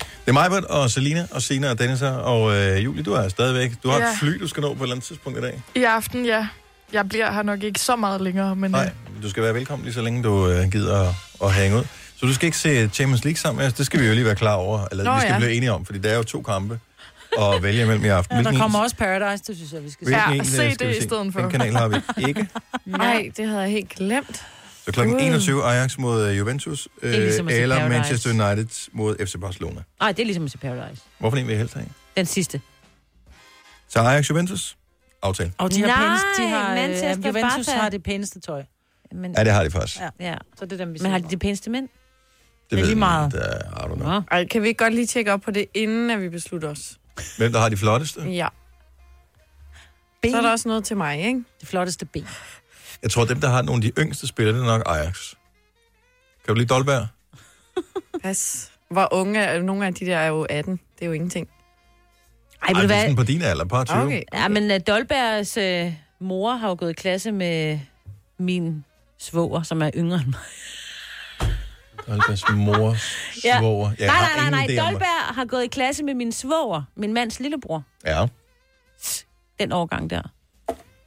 Det er Majbert og Selina og Sina og Dennis her, og øh, Julie, du er stadigvæk. Du har ja. et
Ja.
fly, du skal nå på et eller andet tidspunkt i dag.
I aften, ja. Jeg bliver her nok ikke så meget længere, men... øh,
Nej, du skal være velkommen lige så længe du øh, gider at, at hænge ud. Så du skal ikke se Champions League sammen med os. Det skal vi jo lige være klar over. Eller Nå,
Nå,
vi skal ja.
ja.
blive enige om, fordi der er jo to kampe at vælge imellem i aften.
Ja, der
Hvilken
kommer
en-
også Paradise, det synes jeg, vi skal se.
hvilken
Ja,
en, øh,
se
skal vi
det i stedet for.
Den kanal har vi ikke.
Nej, det havde jeg helt glemt.
Så kl. 21 Ajax mod øh, Juventus, øh,
er ligesom at se
eller
Paradise.
Manchester United mod FC Barcelona.
Nej, det er ligesom at se Paradise.
Hvorfor en vil jeg helst have?
Den sidste.
Så Ajax Juventus, aftale.
Og de har,
Nej,
pænest, de har øh,
Manchester,
Juventus
Barca.
har det pæneste tøj.
Men,
Ja, det har de faktisk.
Ja.
ja.
Så det er dem, vi
Men
ser.
har de de pæneste mænd?
er lige meget.
Der, I don't know.
Nå.
Ej, kan vi ikke godt lige tjekke op på det, inden at vi beslutter os?
Hvem der har de flotteste?
Ja.
ben,
Så er der også noget til mig, ikke?
det flotteste ben.
Jeg tror, dem, der har nogle af de yngste spillere, det er nok Ajax. Kan du lide Dolberg?
Pas. Hvor unge er nogle af de der er jo 18. Det er jo ingenting.
Ej,
Ej,
ved
det
du
er
hvad?
sådan på din alder, par 20. Okay.
Ja, men uh, Dolbergs uh, mor har jo gået i klasse med min svoger, som er yngre end mig.
Dolbergs mor,
Ja.
altså svoger. Ja.
nej, nej, nej, nej. Dolberg har gået i klasse med min svoger, min mands lillebror.
Ja,
Den årgang der.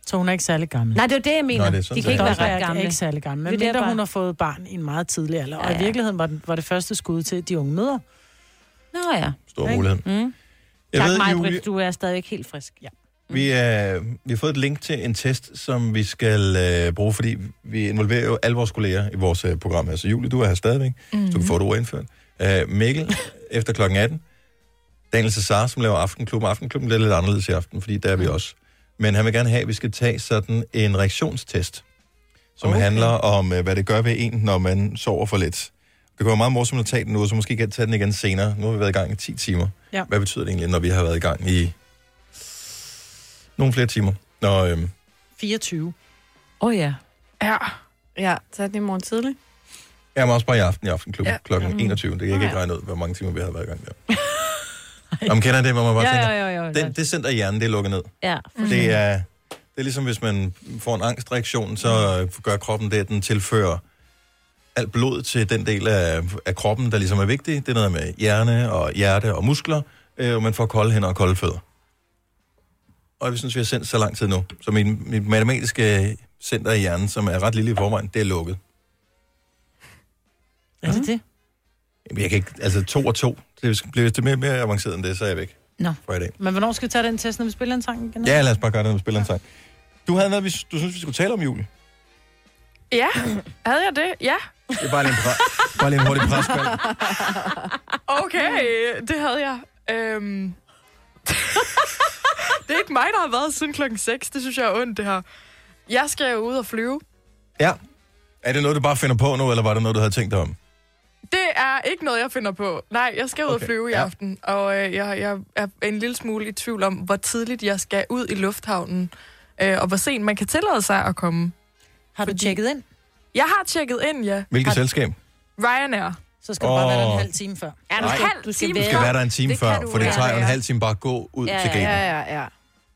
Så hun er ikke særlig gammel.
Nej, det er det, jeg
Nå,
mener.
det er
det
sådan,
de kan ikke
det er.
være
Dolberg
ret
er
gamle.
ikke særlig gammel, men
Det er
mindre
bare-
hun har fået barn i en meget tidlig alder. Og
Ja,
i
ja.
virkeligheden var, den, var det første skud til de unge møder.
Nå ja.
stor
Ikke?
mulighed.
Mm.
Jeg
tak,
ved,
mig,
Julie,
Britt, du er stadigvæk helt frisk. Ja.
vi, er, vi har fået et link til en test, som vi skal øh, bruge, fordi vi involverer jo alle vores kolleger i vores øh, program her. Så Julie, du er her stadigvæk. Mm-hmm. Du kan få et ord indført. Øh, Mikkel, efter klokken 18. Daniel Cesar, som laver Aftenklubben. Aftenklubben er lidt anderledes i aften, fordi der er vi også. Men han vil gerne have, at vi skal tage sådan en reaktionstest, som okay. handler om, øh, hvad det gør ved en, når man sover for lidt. Det kan være meget morsomt at tage den nu, så måske kan jeg tage den igen senere. Nu har vi været i gang i 10 timer.
Ja.
Hvad betyder det egentlig, når vi har været i gang i nogle flere timer? Nå, øhm,
24.
Åh oh, ja.
Ja.
Ja, tag den i morgen tidlig.
jeg er også bare i aften i Aftenklubben
Ja.
ja. kl.
Mm.
21. Det kan jeg ikke regne ud, hvor mange timer vi har været i gang der. Om kender I det, hvor man bare
Ja,
tænker,
ja, ja, ja.
den, det center i hjernen, det er lukket ned.
ja.
Det er, det er ligesom, hvis man får en angstreaktion, så øh, gør kroppen det, at den tilfører alt blod til den del af, af kroppen, der ligesom er vigtig. Det er noget med hjerne og hjerte og muskler, øh, og man får kolde hænder og kolde fødder. Og jeg synes, vi har sendt så lang tid nu. Så min, mit matematiske center i hjernen, som er ret lille i forvejen, det er lukket.
Er det det?
Jamen, Jeg kan ikke, altså to og to. Det bliver hvis det er mere, mere avanceret end det, så er jeg væk
Nå.
for i dag.
Men hvornår skal vi tage den test, når vi spiller en sang igen?
Ja, lad os bare gøre det, når vi spiller en sang. Du havde noget, vi, du synes, vi skulle tale om, Julie.
Ja, havde jeg det? Ja.
Det er bare lige en, pre- bare lige en hurtig presbald.
Okay, det havde jeg. Øhm. det er ikke mig, der har været siden klokken 6. Det synes jeg er ondt, det her. Jeg skal jo ud og flyve.
Ja. Er det noget, du bare finder på nu, eller var det noget, du havde tænkt dig om?
Det er ikke noget, jeg finder på. Nej, jeg skal ud
Okay,
og flyve i
ja.
aften, og øh, jeg, jeg er en lille smule i tvivl om, hvor tidligt jeg skal ud i lufthavnen, øh, og hvor sent man kan tillade sig at komme.
Har du tjekket ind?
Jeg har tjekket ind, ja.
Hvilket
Har-
selskab?
Ryanair.
Så skal du bare
Åh.
være der en halv time før.
Ja, du
Nej.
skal, du skal
Du
være.
skal være der en time
Det
før,
kan du
for det
være.
tager jo en
Ja.
halv time bare at gå ud
Ja,
til gaten.
Ja, ja, ja.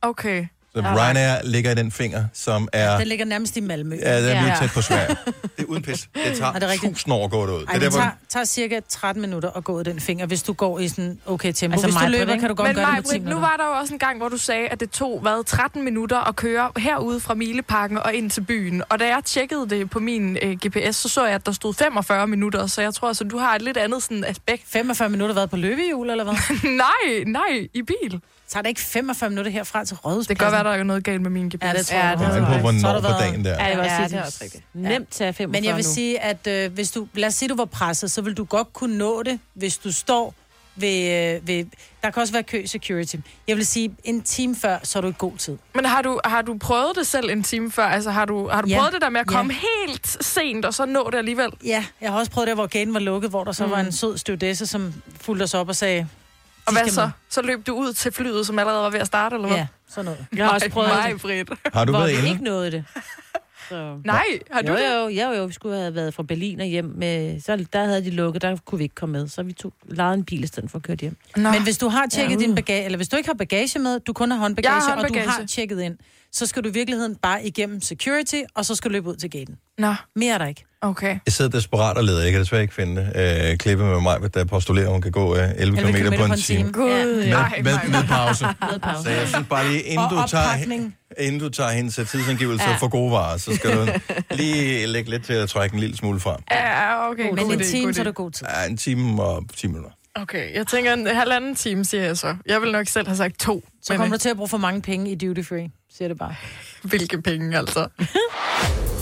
Okay.
Så Ryanair ligger i den finger, som er...
Den ligger nærmest i Malmø.
Ja, den er lige
Ja.
tæt på Sverige. Det er uden pis. Det tager
Er det rigtigt?
tusind år at gå derud.
Ej,
er
det
der,
tager, tager cirka 13 minutter at gå ud den finger, hvis du går i sådan okay tempo. Altså,
Altså
hvis du
mig,
løber,
Britt,
kan du godt
Men
gøre det på 10
Majbrit, nu
minutter.
var der jo også en gang, hvor du sagde, at det tog hvad, 13 minutter at køre herude fra Mileparken og ind til byen. Og da jeg tjekkede det på min øh, GPS, så så jeg, at der stod 45 minutter, så jeg tror, altså, du har et lidt andet sådan, aspekt.
45 minutter været på løbehjul, eller hvad?
nej, nej, i bil.
Tager det ikke 45 minutter herfra til Rådhuspladsen?
Det kan godt være, der er noget galt med min GPS.
Ja, det tror
Ja,
jeg.
det
kommer
er
an på,
rigtigt.
Så har
hvornår
du
på
været-
dagen der.
Ja, det var
Ja,
ja,
det er også rigtigt.
Nemt tage 45
Men jeg vil
nu.
sige, at øh, hvis du, lad os sige, du var presset, så vil du godt kunne nå det, hvis du står ved, øh, ved... Der kan også være kø i security. Jeg vil sige, en time før, så er du i god tid.
Men har du, har du prøvet det selv en time før? Altså, har du, har du
Ja.
prøvet det der med at
Ja.
komme helt sent, og så nå det alligevel?
Ja, jeg har også prøvet det, hvor gaden var lukket, hvor der så mm. var en sød stewardesse, som fulgte os op og sagde...
Og
"De
hvad
skal
så?
med."
Så løb du ud til flyet, som allerede var ved at starte, eller hvad?
Ja, sådan noget.
Jeg har også prøvet
Nej,
det,
Britt.
Har du
hvor
været
vi
inde?
ikke nåede det. Så.
Nej, har du
jo,
det?
jo, jo, jo, vi skulle have været fra Berlin og hjem. Med, så der havde de lukket, der kunne vi ikke komme med. Så vi tog, lejede en bil i stedet for at køre hjem. uh.
Nå.
Men hvis du har tjekket din bagage, eller hvis du ikke har bagage med, du kun har håndbagage,
Jeg har
og du
håndbagage.
har tjekket ind, så skal du i virkeligheden bare igennem security, og så skal du løbe ud til gaten.
Nå,
Mere er der ikke.
okay.
Jeg sidder desperat og leder. Jeg kan desværre ikke finde det. øh, klippet med mig, der postulerer, at hun kan gå øh, 11 km på en time.
Gud, ja.
Med, med, med pause.
pause.
Så jeg synes bare lige, inden,
Og
du tager,
oppakning.
inden du tager hendes tidsangivelse ja. for gode varer, så skal du lige lægge lidt til at trække en lille smule frem.
Ja, okay.
Men
god
en
idé,
time,
god
så er
idé.
der god tid.
Ja, en time og 10 minutter.
Okay, jeg tænker en halvanden time, siger jeg så. Jeg vil nok selv have sagt to.
Så
men, øh,
kommer du til at bruge for mange penge i duty free, siger det bare.
Hvilke penge, altså.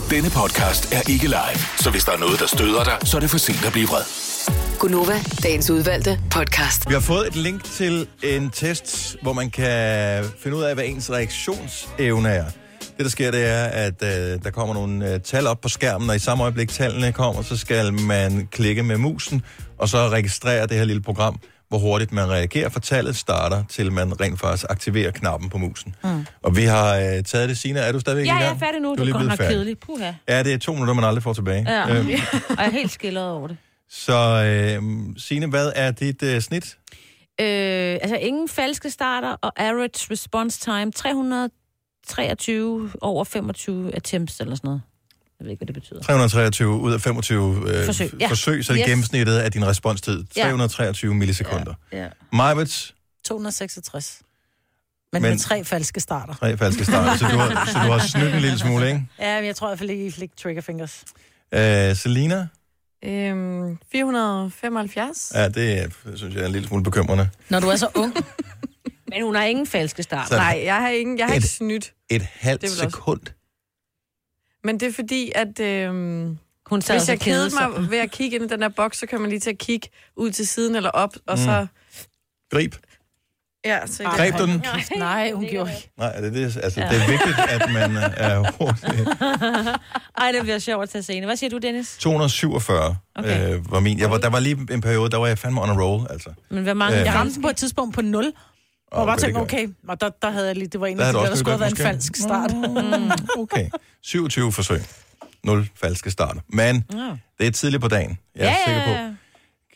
Denne podcast er ikke live, så hvis der er noget, der støder dig, så er det for sent at blive vred.
Gunova, dagens udvalgte podcast.
Vi har fået et link til en test, hvor man kan finde ud af, hvad ens reaktionsevne er. Det, der sker, det er, at øh, der kommer nogle øh, tal op på skærmen, og i samme øjeblik tallene kommer, så skal man klikke med musen, og så registrere det her lille program, hvor hurtigt man reagerer, for tallet starter, til man rent faktisk aktiverer knappen på musen. Mm. Og vi har øh, taget det, Sina. Er du stadigvæk
Ja,
i gang?
jeg er færdig nu.
Du
Du,
er lige
du går
blevet
nok
færdig.
kedelig. Puha.
Ja, det er to minutter, man aldrig får tilbage.
Ja.
Øhm,
Og jeg er helt skildret over det.
så øh, Signe, hvad er dit øh, snit?
Øh, altså ingen falske starter, og average response time 323 over 25 attempts eller sådan noget. Jeg ved ikke, hvad det betyder.
323 ud af 25 øh, forsøg.
Forsøg,
Ja.
ja.
forsøg, så det yes.
Yes.
gennemsnittet af din responstid.
Ja.
323 millisekunder.
Ja.
Ja. Majbets,
266. Men,
Men-
men med tre falske starter.
tre falske starter, så du har, så du har snydt en lille smule, ikke?
Ja, men jeg tror i hvert fald ikke, I fik trigger fingers.
Øh, Selina,
Øhm, 475.
ja, det øh, synes jeg er en lille smule bekymrende.
Når du er så ung.
Men hun har ingen falske starter.
Så-
Nej, jeg har, ingen, jeg har
Et-
ikke snydt.
Et halvt
Det er vel også-
sekund.
Men det er fordi, at øhm,
Hun sad
hvis
også
jeg
og kedede
kedede
sig.
mig ved at kigge ind i den der boks, så kan man lige til at kigge ud til siden eller op, og så...
Grib.
Ja, så
Ej.
Mm. Greb du den?
Nej, hun gjorde ikke.
Nej, det er, det, altså, ja. det er vigtigt, at man er hurtig.
Ej, det bliver sjovt at tage scene. Hvad siger du, Dennis?
247 okay.
Okay.
øh, var min. Jeg var, der var lige en periode, der var jeg fandme on a roll, altså.
Men hvor mange
Øh,
Jeg
gange?
ramte den på et tidspunkt på 0. Og jeg
okay,
bare
det
tænkte,
gør
okay, og der, der havde jeg lige, det var en
Der
af
havde
de
du
der,
også
der skulle have været
gjort
en falsk start.
Okay. 27 forsøg. 0 falske starter. Men
Mm.
Ja.
det er tidligt på dagen. Jeg er
Ja,
sikker på.
ja, ja.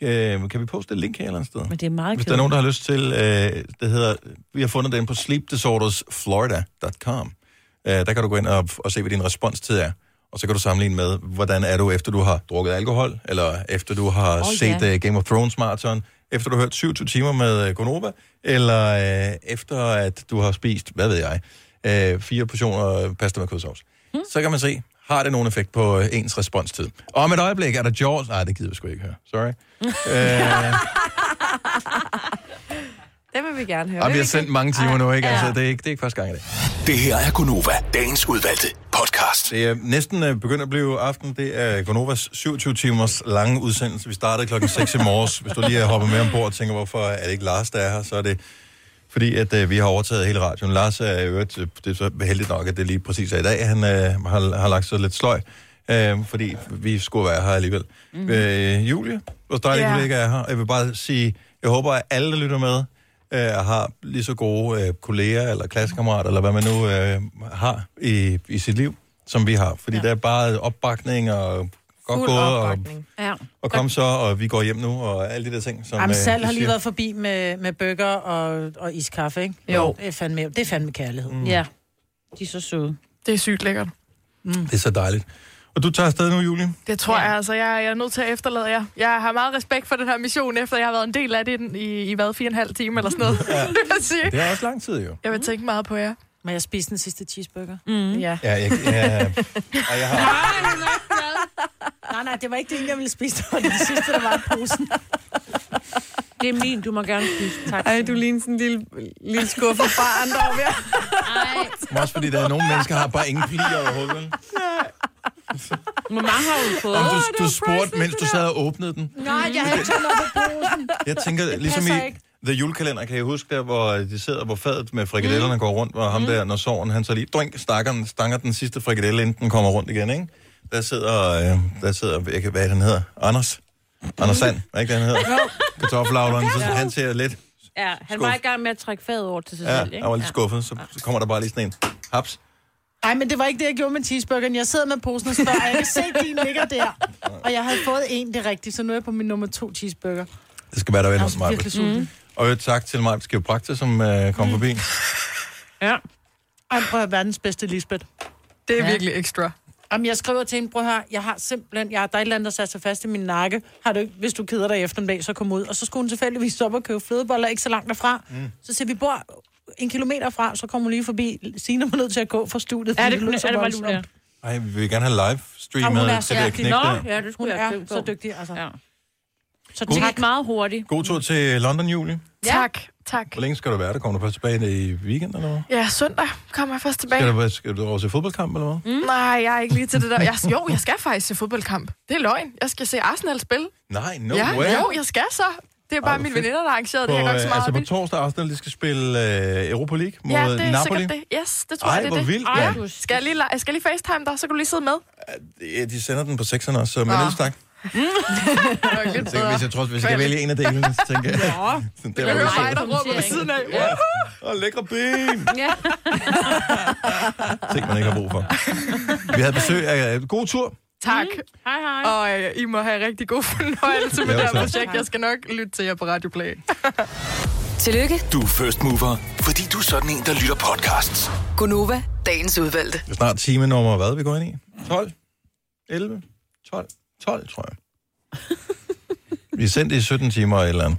Øh, kan vi poste et link her et eller andet sted?
Men det er meget
Hvis der er
kedeligt.
nogen, der har lyst til, øh, det hedder, vi har fundet den på sleepdisordersflorida.com. Øh, der kan du gå ind og, og se, hvad din responstid er. Og så kan du sammenligne med, hvordan er du, efter du har drukket alkohol, eller efter du har oh,
Åh,
set
ja.
øh, Game of Thrones marathon, efter du har hørt 27 timer med øh, Gonova, eller øh, efter at du har spist, hvad ved jeg, øh, fire portioner pasta med kødsovs. Hmm. Så kan man se, har det nogen effekt på øh, ens responstid. Og om et øjeblik er der George... Nej, det gider vi sgu ikke høre. Sorry. øh,
det vil vi gerne høre.
Ja, vi
Vil
har
vi
sendt mange timer nu, ikke? Altså, det er ikke, det er ikke første gang i dag.
Det her er Gonova, dagens udvalgte podcast.
Det er næsten øh, begyndt at blive aften. Det er Gonovas 27 timers lange udsendelse. Vi startede klokken 6 i morges. Hvis du lige har hoppet med ombord og tænker, hvorfor er det ikke Lars, der er her, så er det fordi, at øh, vi har overtaget hele radioen. Lars er i øvrigt, øh, det er så heldigt nok, at det lige præcis er i dag. Han øh, har, har lagt sig lidt sløj, øh, fordi vi skulle være her alligevel. Mm. Øh, Julie, vores dejlige
Ja.
yeah. kollega er her. Jeg vil bare sige, jeg håber, at alle, der lytter med, øh, har lige så gode øh, kolleger eller klassekammerater, eller hvad man nu øh, har i, i sit liv, som vi har. Fordi ja. der er bare opbakning og godt
Fuld
gået, og,
opbakning.
Ja.
og kom så, og vi går hjem nu, og alle de der ting, som
Jamen,
øh,
Sal
vi
har lige
siger.
været forbi med, med burger og, og iskaffe, ikke?
Jo.
Det er fandme, det er fandme kærlighed. Mm.
ja. De er så søde.
Det er sygt lækkert.
Mm.
Det er så dejligt. Og du tager afsted nu, Julie?
Det tror ja. jeg altså. Jeg, jeg er nødt til at efterlade jer. Jeg har meget respekt for den her mission, efter jeg har været en del af det i, den- i, i hvad, fire og en halv time eller sådan noget. Ja. jeg, sige.
Det er også lang tid, jo.
jeg vil tænke meget på jer.
Men jeg spiste den sidste cheeseburger.
Mm.
Ja.
Ja, jeg, ja, og jeg har,
Nej, nej, det var ikke det, jeg ville spise. Det var det sidste, der var i posen.
Det er min, du må gerne spise. Tak.
Ej, du ligner sådan en lille, lille skuffet barn derovre. ved.
Ej.
men også fordi der er nogle mennesker, der har bare ingen plier overhovedet. vel?
Hvor mange har hun fået?
Om du, du spurgte, mens du sad og åbnede den.
Nej, jeg havde ikke tømt op på posen.
Jeg tænker, ligesom
passer
i
ikke.
The Julekalender, kan jeg huske der, hvor de sidder, hvor fadet med frikadellerne
Mm.
går rundt, og ham der, når soven, han så lige drink, stakker, den- stanger den sidste frikadelle, inden den kommer rundt igen, ikke? Der sidder, øh, der sidder jeg kan, hvad er det, han hedder? Anders? Anders Sand, er ikke det, han hedder? Kartoffelavleren, så han ser lidt,
Ja, han
Skuff.
var i gang med at trække faget over til sig
ja,
selv, ikke?
han var lidt skuffet, så, så kommer der bare lige sådan en, haps.
Nej, men det var ikke det, jeg gjorde med cheeseburgeren. Jeg sidder med posen og spørger, og jeg kan se, at din ligger der. Og jeg havde fået en, det er rigtigt, så nu er jeg på min nummer to cheeseburger. Jeg
Det skal være der vel hos
er
mig.
virkelig sulten. Mm.
Og øh, tak til Mark Skioprakter, som øh,
Mm.
kom forbi.
Ja.
Ej, prøv at høre, verdens bedste Lisbeth.
Det er ja. virkelig ekstra.
Jamen, jeg skriver til hende, prøv at høre, jeg har simpelthen, jeg har, der er et eller andet, der satte sig fast i min nakke. Har du ikke, hvis du keder dig i eftermiddag, så kom ud. Og så skulle hun tilfældigvis stoppe og købe flødeboller, ikke så langt derfra. Mm. Så siger vi, vi bor en kilometer fra, så kommer hun lige forbi. Signe var nødt til at gå fra studiet.
Er
fordi
det,
lød så
er det bare
voldsomt.
lulært?
Ej, vi vil gerne have live streamet
Ah,
Jamen, hun er
til
så
det her
dygtig.
knæk
Nå,
der.
ja, det skulle
Hun
jeg
er
tænke
så
på.
dygtig, altså.
Ja. Så det
God-
gik meget hurtigt.
God tur til London, Julie.
Tak, tak.
Hvor længe skal du være der? Kommer du først tilbage i weekenden, eller hvad?
Ja, søndag kommer jeg først tilbage.
Skal du, skal du over til fodboldkamp, eller hvad?
Mm. Nej, jeg er ikke lige til det der. Jeg, jo, jeg skal faktisk se fodboldkamp. Det er løgn. Jeg skal se Arsenal spille.
Nej, no
ja,
way.
jo, jeg skal så. Det er bare
Ej, hvor
mine
fedt.
veninder, der har arrangeret
på,
det. Jeg går ikke så
øh,
meget
altså
op i
på
det.
torsdag Arsenal, de skal spille øh, Europa League mod
Ja, det er
Napoli.
sikkert det. Yes, det tror
Ej,
jeg, det er
hvor
det.
vildt,
Ej,
mand.
skal jeg lige, la- skal jeg lige facetime dig, så kan du lige sidde med.
Ja, De sender den på sekserne også, så men ellers tak.
Det var lidt
Jeg tænker, hvis jeg tror, hvis jeg kan
Kvalitet.
vælge en af delene, så tænker jeg... Ja. Der,
Jeg
hvor
hører
du
mig, der råber ved
Ikke?
siden af.
Ja. Og lækre ben.
Ja.
Ting, man ikke har brug for. Vi havde besøg af... øh, God tur.
Tak.
Mm.
Hej, hej.
Og øh, I må have rigtig god fornøjelse med
Jo,
det her
tak.
projekt. Jeg skal nok lytte til jer på Radio Play.
Tillykke,
Du er first mover, fordi du er sådan en, der lytter podcasts.
Gunova, dagens udvalgte.
Det er snart time nummer, hvad vi går ind i? 12? 11? 12? 12, tror jeg. Vi er sendt i 17 timer eller et eller andet.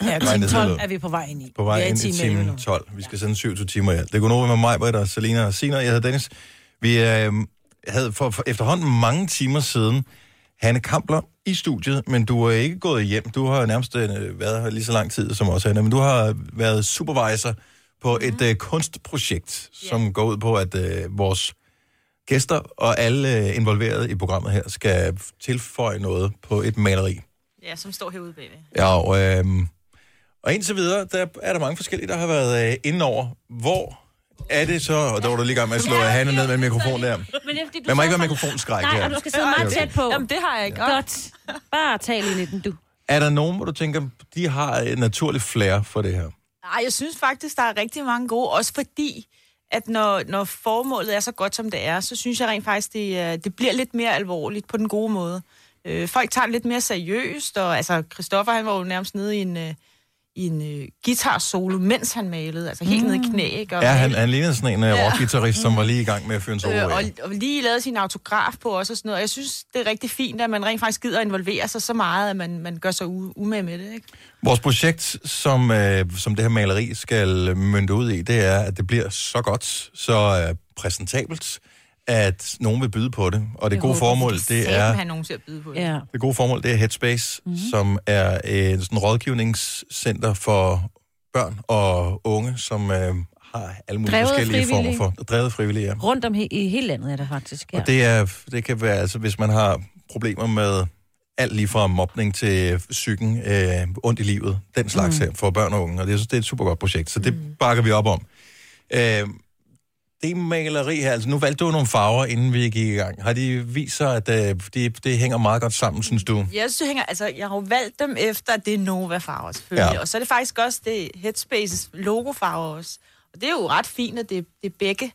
Ja,
Nej, det
time
er
12
sådan
er vi på vej ind i.
På vej
Vi er
ind i
time
timen
11 nu.
12. Vi skal sende 27 timer i alt. Det går over med mig, Britta, Selina og Sina. Jeg hedder Dennis. Vi øh, havde for, for efterhånden mange timer siden Hanne Kampler i studiet, men du er ikke gået hjem. Du har nærmest øh, været her lige så lang tid som os, Hanne, men du har været supervisor på et øh, kunstprojekt, som går ud på, at øh, vores gæster og alle øh, involverede i programmet her skal tilføje noget på et maleri.
Ja, som står herude bagved.
Ja, og, øhm, og indtil videre, der er der mange forskellige, der har været øh, inde over. Hvor er det så? Og der var du lige i gang med at slå Hanne ned med en mikrofon der.
Men det er, fordi, du
Man må
sidder
ikke være
så-
mikrofonskræk
Nej,
her.
og du skal sidde meget tæt på.
Jamen, det har jeg ikke.
Godt. Bare tal ind i den, du.
Er der nogen, hvor du tænker, de har et naturligt flair for det her?
Nej, jeg synes faktisk, der er rigtig mange gode, også fordi, at når, når formålet er så godt, som det er, så synes jeg rent faktisk, det, er- det bliver lidt mere alvorligt på den gode måde. Øh, folk tager det lidt mere seriøst, og altså, Christoffer, han var jo nærmest nede i en, øh, i en øh, guitar-solo, mens han malede, altså helt mm. nede i knæ, ikke? Og,
Ja, han, han lignede sådan en uh, rockgitarrist, som var lige i gang med at fyre en solo
øh,
af.
og, og lige lavede sin autograf på os og sådan noget. Og jeg synes, det er rigtig fint, at man rent faktisk gider at involvere sig så meget, at man, man gør sig u- umage med det, ikke?
Vores projekt, som, øh, som det her maleri skal mynde ud i, det er, at det bliver så godt, så øh, præsentabelt, at nogen vil byde på det. Og det, gode formål, det er...
Han nogen til at byde på det.
Ja.
Det gode formål, det er Headspace,
Mhm.
mm-hmm. som er en sådan rådgivningscenter for børn og unge, som øh, har alle mulige
Drevet af
forskellige former
frivillige.
for. Drevet frivillige, ja.
Rundt om he- i hele landet er der faktisk. Ja.
Og det, er, det kan være, altså hvis man har problemer med alt lige fra mobning til psyken, øh, ondt i livet, den
Mhm.
slags mm. her for børn og unge. Og det, jeg synes, det er et super godt projekt, så det mm. bakker vi op om. Øh, det maleri her, altså nu valgte du nogle farver, inden vi gik i gang. Har de vist sig, at øh, det, det hænger meget godt sammen, synes du?
Jeg synes, det hænger, altså, jeg har jo valgt dem efter, at det er Nova-farver selvfølgelig.
Ja.
Ja. Og så er det faktisk også det Headspaces logo-farver også. Og det er jo ret fint, at det, det er begge,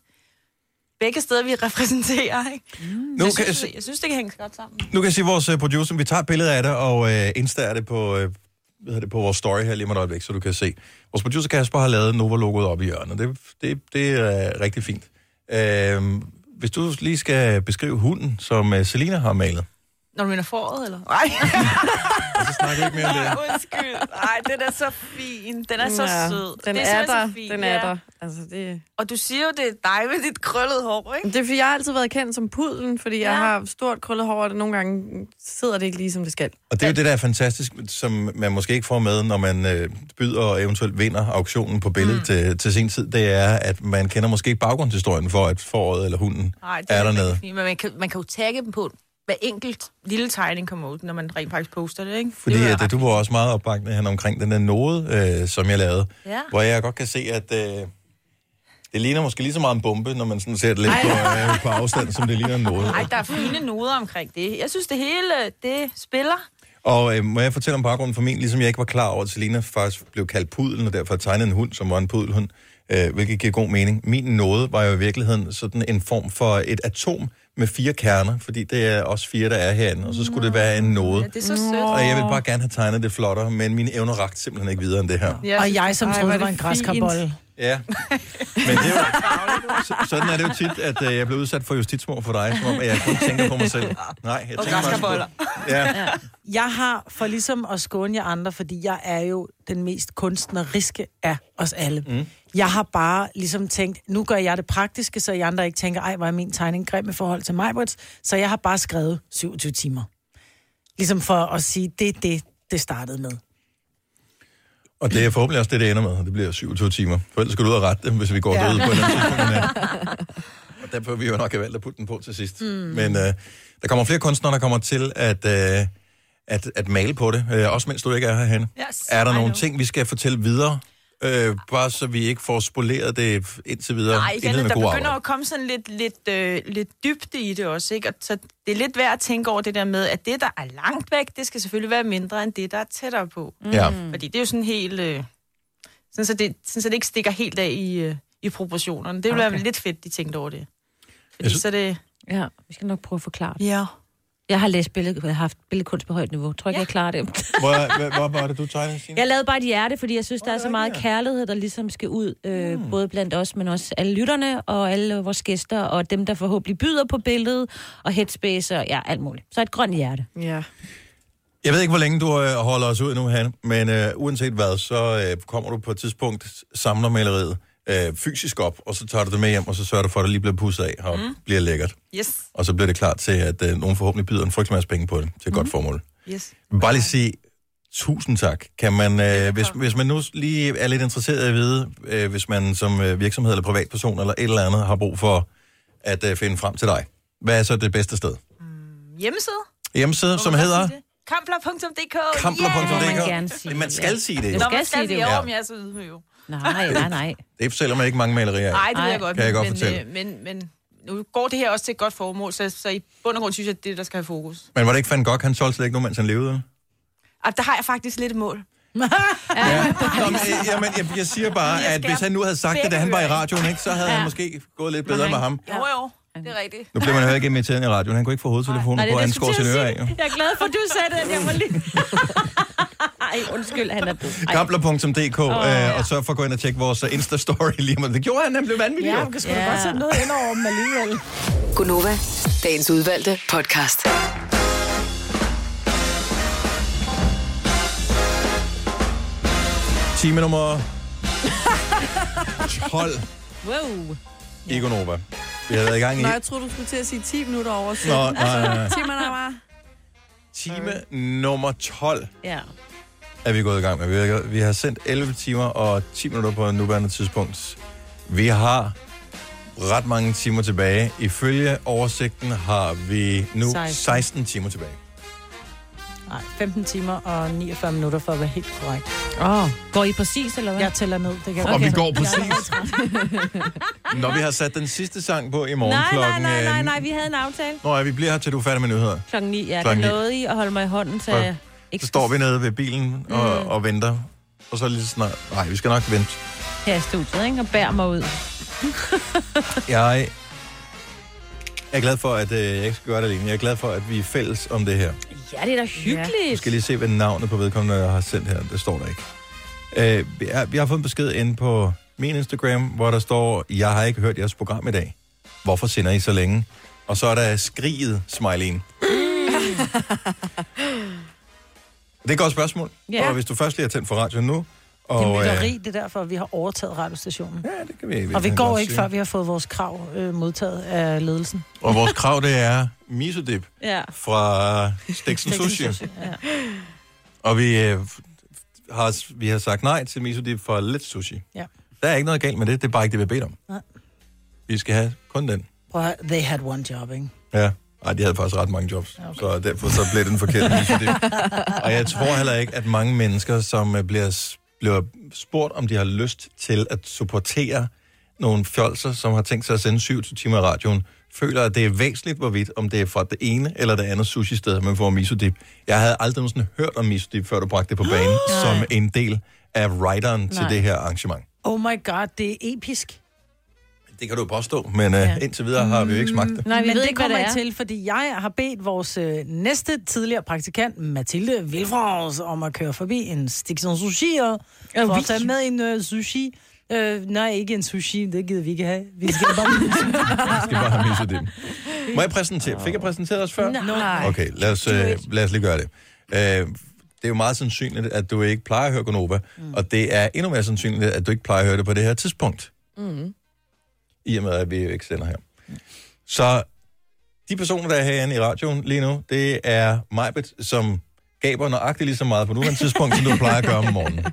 begge steder, vi repræsenterer. Ikke? Mm.
Nu
Jeg,
kan jeg
synes,
se-
jeg, jeg synes, det kan hænge godt sammen.
Nu kan jeg sige vores øh, producer, vi tager et billede af det og øh, installer det på, øh, hvad hedder det på vores story her lige om et øjeblik, så du kan se. Vores producer Kasper har lavet Nova-logoet op i hjørnet. Det, det, det er rigtig fint. Øh, hvis du lige skal beskrive hunden, som øh, Selina har malet.
Når du mener foråret, eller? Nej,
Og så snakker vi ikke mere om det.
undskyld. Nej, den er så fin. Den er så
Ja,
sød.
Den
det
er,
simpelthen
der.
så fin,
Den er
ja.
der. Altså, det...
Og du siger jo, det er dig med dit krøllede hår, ikke?
Men Det er, fordi jeg har altid været kendt som pudlen, fordi ja. jeg
Ja.
har stort krøllet hår, og det- nogle gange sidder det ikke lige, som det skal.
Og det er jo det, der er fantastisk, som man måske ikke får med, når man øh, byder og eventuelt vinder auktionen på billedet mm. til, til sin tid. Det er, at man kender måske ikke baggrundshistorien for, at foråret eller hunden
Nej, det
er,
er,
dernede.
er Men man kan, man kan jo tagge dem på hver enkelt lille tegning kommer ud, når man rent faktisk poster det, ikke?
Fordi
det er
det at, øh, du var også meget opbakende han omkring den der node, øh, som jeg lavede.
Ja.
Hvor jeg godt kan se, at øh, det ligner måske lige så meget en bombe, når man sådan ser det lidt på, øh, på afstand, som det ligner en node.
Nej, der er fine noder omkring det. Jeg synes, det hele, det spiller.
Og øh, må jeg fortælle om baggrunden for min, ligesom jeg ikke var klar over, at Selina faktisk blev kaldt pudlen, og derfor tegnede en hund, som var en pudelhund, øh, hvilket giver god mening. Min nåde var jo i virkeligheden sådan en form for et atom med fire kerner, fordi det er også fire, der er herinde, og så skulle det være en nåde.
Det er så sødt.
Og jeg vil bare gerne have tegnet det flottere, men mine evner rakte simpelthen ikke videre end det her.
Ja,
Og jeg, som
Ej,
troede,
hvor er
det var en
det
græskarbolle.
Ja, men det er jo, så- sådan er det jo tit, at øh, jeg bliver udsat for justitsmord for dig, som om at jeg kun tænker på mig selv. Nej, jeg tænker faktisk
græskarboller.
på... Ja,
Jeg har, for ligesom at skåne jer andre, fordi jeg er jo den mest kunstneriske af os alle. Mm. Jeg har bare ligesom tænkt, nu gør jeg det praktiske, så I andre ikke tænker, ej, hvor er min tegning grim i forhold til mig, så jeg har bare skrevet 27 timer. Ligesom for at sige, det er det, det startede med.
Og det er forhåbentlig også det, det ender med. Det bliver 27 timer. For ellers skal du ud og rette dem, hvis vi går ja. døde på en eller anden tidspunkt. i nat. Og derfor har vi jo nok have valgt at putte den på til sidst. Mm. Men øh, der kommer flere kunstnere, der kommer til at, øh, at, at male på det. Øh, også mens du ikke er herhenne.
Yes,
er der
I
nogle
know.
ting, vi skal fortælle videre? Øh, bare så vi ikke får spoleret det indtil videre.
Nej, ikke andet.
Indledende
Der
god
begynder
arbejde.
at komme sådan lidt, lidt, øh, lidt dybde i det også, ikke? Og så det er lidt værd at tænke over det der med, at det, der er langt væk, det skal selvfølgelig være mindre end det, der er tættere på.
Mm. Ja.
Fordi det er jo sådan helt... Øh, sådan, så det, sådan, så det ikke stikker helt af i, øh, i proportionerne. Det ville okay. være lidt fedt, de tænkte over det. Fordi
synes-
så er det...
Ja, vi skal nok prøve at forklare det.
Ja.
Jeg har læst billed, jeg har haft billedkunst på højt niveau. Tror ikke, ja. jeg klarer det.
Hvor, hvor, hvor var det, du tegnede, Signe?
Jeg lavede bare et hjerte, fordi jeg synes, der er så meget kærlighed, der ligesom skal ud, øh,
Hmm.
både blandt os, men også alle lytterne og alle vores gæster, og dem, der forhåbentlig byder på billedet, og headspace og ja, alt muligt. Så et grønt hjerte.
Ja.
Jeg ved ikke, hvor længe du øh, holder os ud nu, Han, men øh, uanset hvad, så øh, kommer du på et tidspunkt, samler maleriet øh, fysisk op, og så tager du det med hjem, og så sørger du for, at det lige bliver pudset af og mm. bliver lækkert.
Yes.
Og så bliver det klart til, at øh, nogen forhåbentlig byder en frygtelig masse penge på det, til et mm. godt formål.
Yes.
Men Bare lige sige tusind tak. Kan man, øh, hvis, hvis man nu lige er lidt interesseret i at vide, øh, hvis man som øh, virksomhed eller privatperson eller et eller andet har brug for at øh, finde frem til dig, hvad er så det bedste sted?
Hjemmeside?
Hjemmeside, som hedder...
Kampler.dk
Kampler.dk.
Yeah!
Det må man gerne sige, Man skal ja. sige det, jo.
Nå,
Du skal
man skal
sige
sige
det,
det,
jo.
jo. om jeg er så ydmyg. jo.
Nej, nej, nej.
Det sælger man ikke mange malerier af.
Nej, det ved jeg godt.
Kan jeg godt
men,
fortælle.
øh, Men, men nu går det her også til et godt formål, så, så i bund og grund synes jeg, at det er det, der skal have fokus.
Men var det ikke Van Gogh, han solgte slet ikke nogen, mens han levede?
Og der har jeg faktisk lidt et mål.
Nå, men, øh, jamen, jeg, jeg siger bare, at hvis han nu havde sagt det, da han var i radioen, ikke, så havde ja. han måske gået lidt bedre med ham.
Jo, jo. Det er rigtigt.
Nu blev man hørt igennem i tiden i radioen. Han kunne ikke få hovedtelefonen på, han skår sin øre af. jo.
Jeg er glad for, at du sagde det. Jeg var lige... Ej, undskyld, han er blevet. Ej.
Kampler.dk, oh, øh, og så for at gå ind og tjekke vores øh, Insta-story lige om lidt. Det gjorde han, han blev vanvittig.
Ja,
jo.
man kan sgu da godt sætte noget ind over dem alligevel.
Gunova, dagens udvalgte podcast.
Time nummer 12
Wow.
i Gonova. Vi har været i gang i
Nå, jeg troede, du skulle til at sige 10 minutter over 7.
Nå, nej, nej, nej.
10 minutter bare.
time nummer 12.
Ja.
er vi gået i gang med. Vi har, vi har sendt 11 timer og 10 minutter på nuværende tidspunkt. Vi har ret mange timer tilbage. Ifølge oversigten har vi nu 16,
16.
16 timer tilbage.
Nej, 15 timer og 49 minutter for at være helt korrekt.
Oh. Går I præcis, eller hvad?
Jeg tæller ned. Det kan
Og vi går præcis. Når vi har sat den sidste sang på i morgen
Nej, nej,
klokken...
nej, nej,
øh,
nej, vi havde en aftale.
Nå, ja, vi bliver her til du er færdig med nyheder.
Klokken 9, ja, der
Klokken ni.
nåede I at holde mig i hånden, så
Og
jeg
Så
ikke
står vi nede ved bilen og, mm. og venter. Og så lige snart... Nej, vi skal nok vente.
her i studiet, ikke? Og bærer mig ud.
Jeg er glad for, at øh, jeg ikke skal gøre det alene. Jeg er glad for, at vi er fælles om det her.
Ja, det er da
Jeg
hyggeligt.
skal lige se, hvad navnet på vedkommende jeg har sendt her. Det står der ikke. Øh, vi, er, vi har fået en besked inde på min Instagram, hvor der står, jeg har ikke hørt jeres program i dag. Hvorfor sender I så længe? Og så er der skriget smileyen. det er et godt spørgsmål.
Ja.
Og hvis du først lige har tændt for radioen nu,
Det er
og
mytteri, det er derfor, vi har overtaget radiostationen.
Ja, det kan vi,
Og vi
kan
går
godt
ikke,
sige.
før vi har fået vores krav øh, modtaget af ledelsen.
Og vores krav, det er misodip
Ja.
fra Stiksen Sushi. Og vi, øh, f- har, vi har sagt nej til miso dip for lidt sushi.
Ja.
Der er ikke noget galt med det, det er bare ikke det, vi har bedt om.
Nej.
Vi skal have kun den.
Prøv at høre, they had one job, ikke?
Ja. Ej, de havde faktisk ret mange jobs, okay. så derfor så blev den forkert. og jeg tror heller ikke, at mange mennesker, som øh, bliver, s- bliver spurgt, om de har lyst til at supportere nogle fjolser, som har tænkt sig at sende 27 timer i radioen, føler, at det er væsentligt, hvorvidt, om det er fra det ene eller det andet sushi-sted, man får misodip. Jeg havde aldrig nogensinde hørt om misodip, før du bragte det på banen, som en del af writeren til
Nej.
det her arrangement.
Oh my god, det er episk.
Det kan du jo påstå, men øh, indtil videre har vi jo ikke smagt det.
Nej, vi
Men
ved
det
ikke, hvad
kommer
det
I
er.
til, fordi jeg har bedt vores øh, næste tidligere praktikant, Mathilde Vilfrans, om at køre forbi en Stikson Sushi og
Ja,
for
vi-
at tage med en øh, sushi. Øh, nej, ikke en sushi, det gider vi ikke have. Vi skal bare...
skal bare have misset det. Må jeg præsentere? Fik jeg præsenteret os før?
Nej.
Okay, lad os, øh, lad os lige gøre det. Øh, det er jo meget sandsynligt, at du ikke plejer at høre Gonova, mm. og det er endnu mere sandsynligt, at du ikke plejer at høre det på det her tidspunkt,
Mm.
i og med, at vi jo ikke sender her. Så de personer, der er herinde i radioen lige nu, det er Majbet, som gaber nøjagtigt lige så meget på nuværende tidspunkt, som du plejer at gøre om morgenen.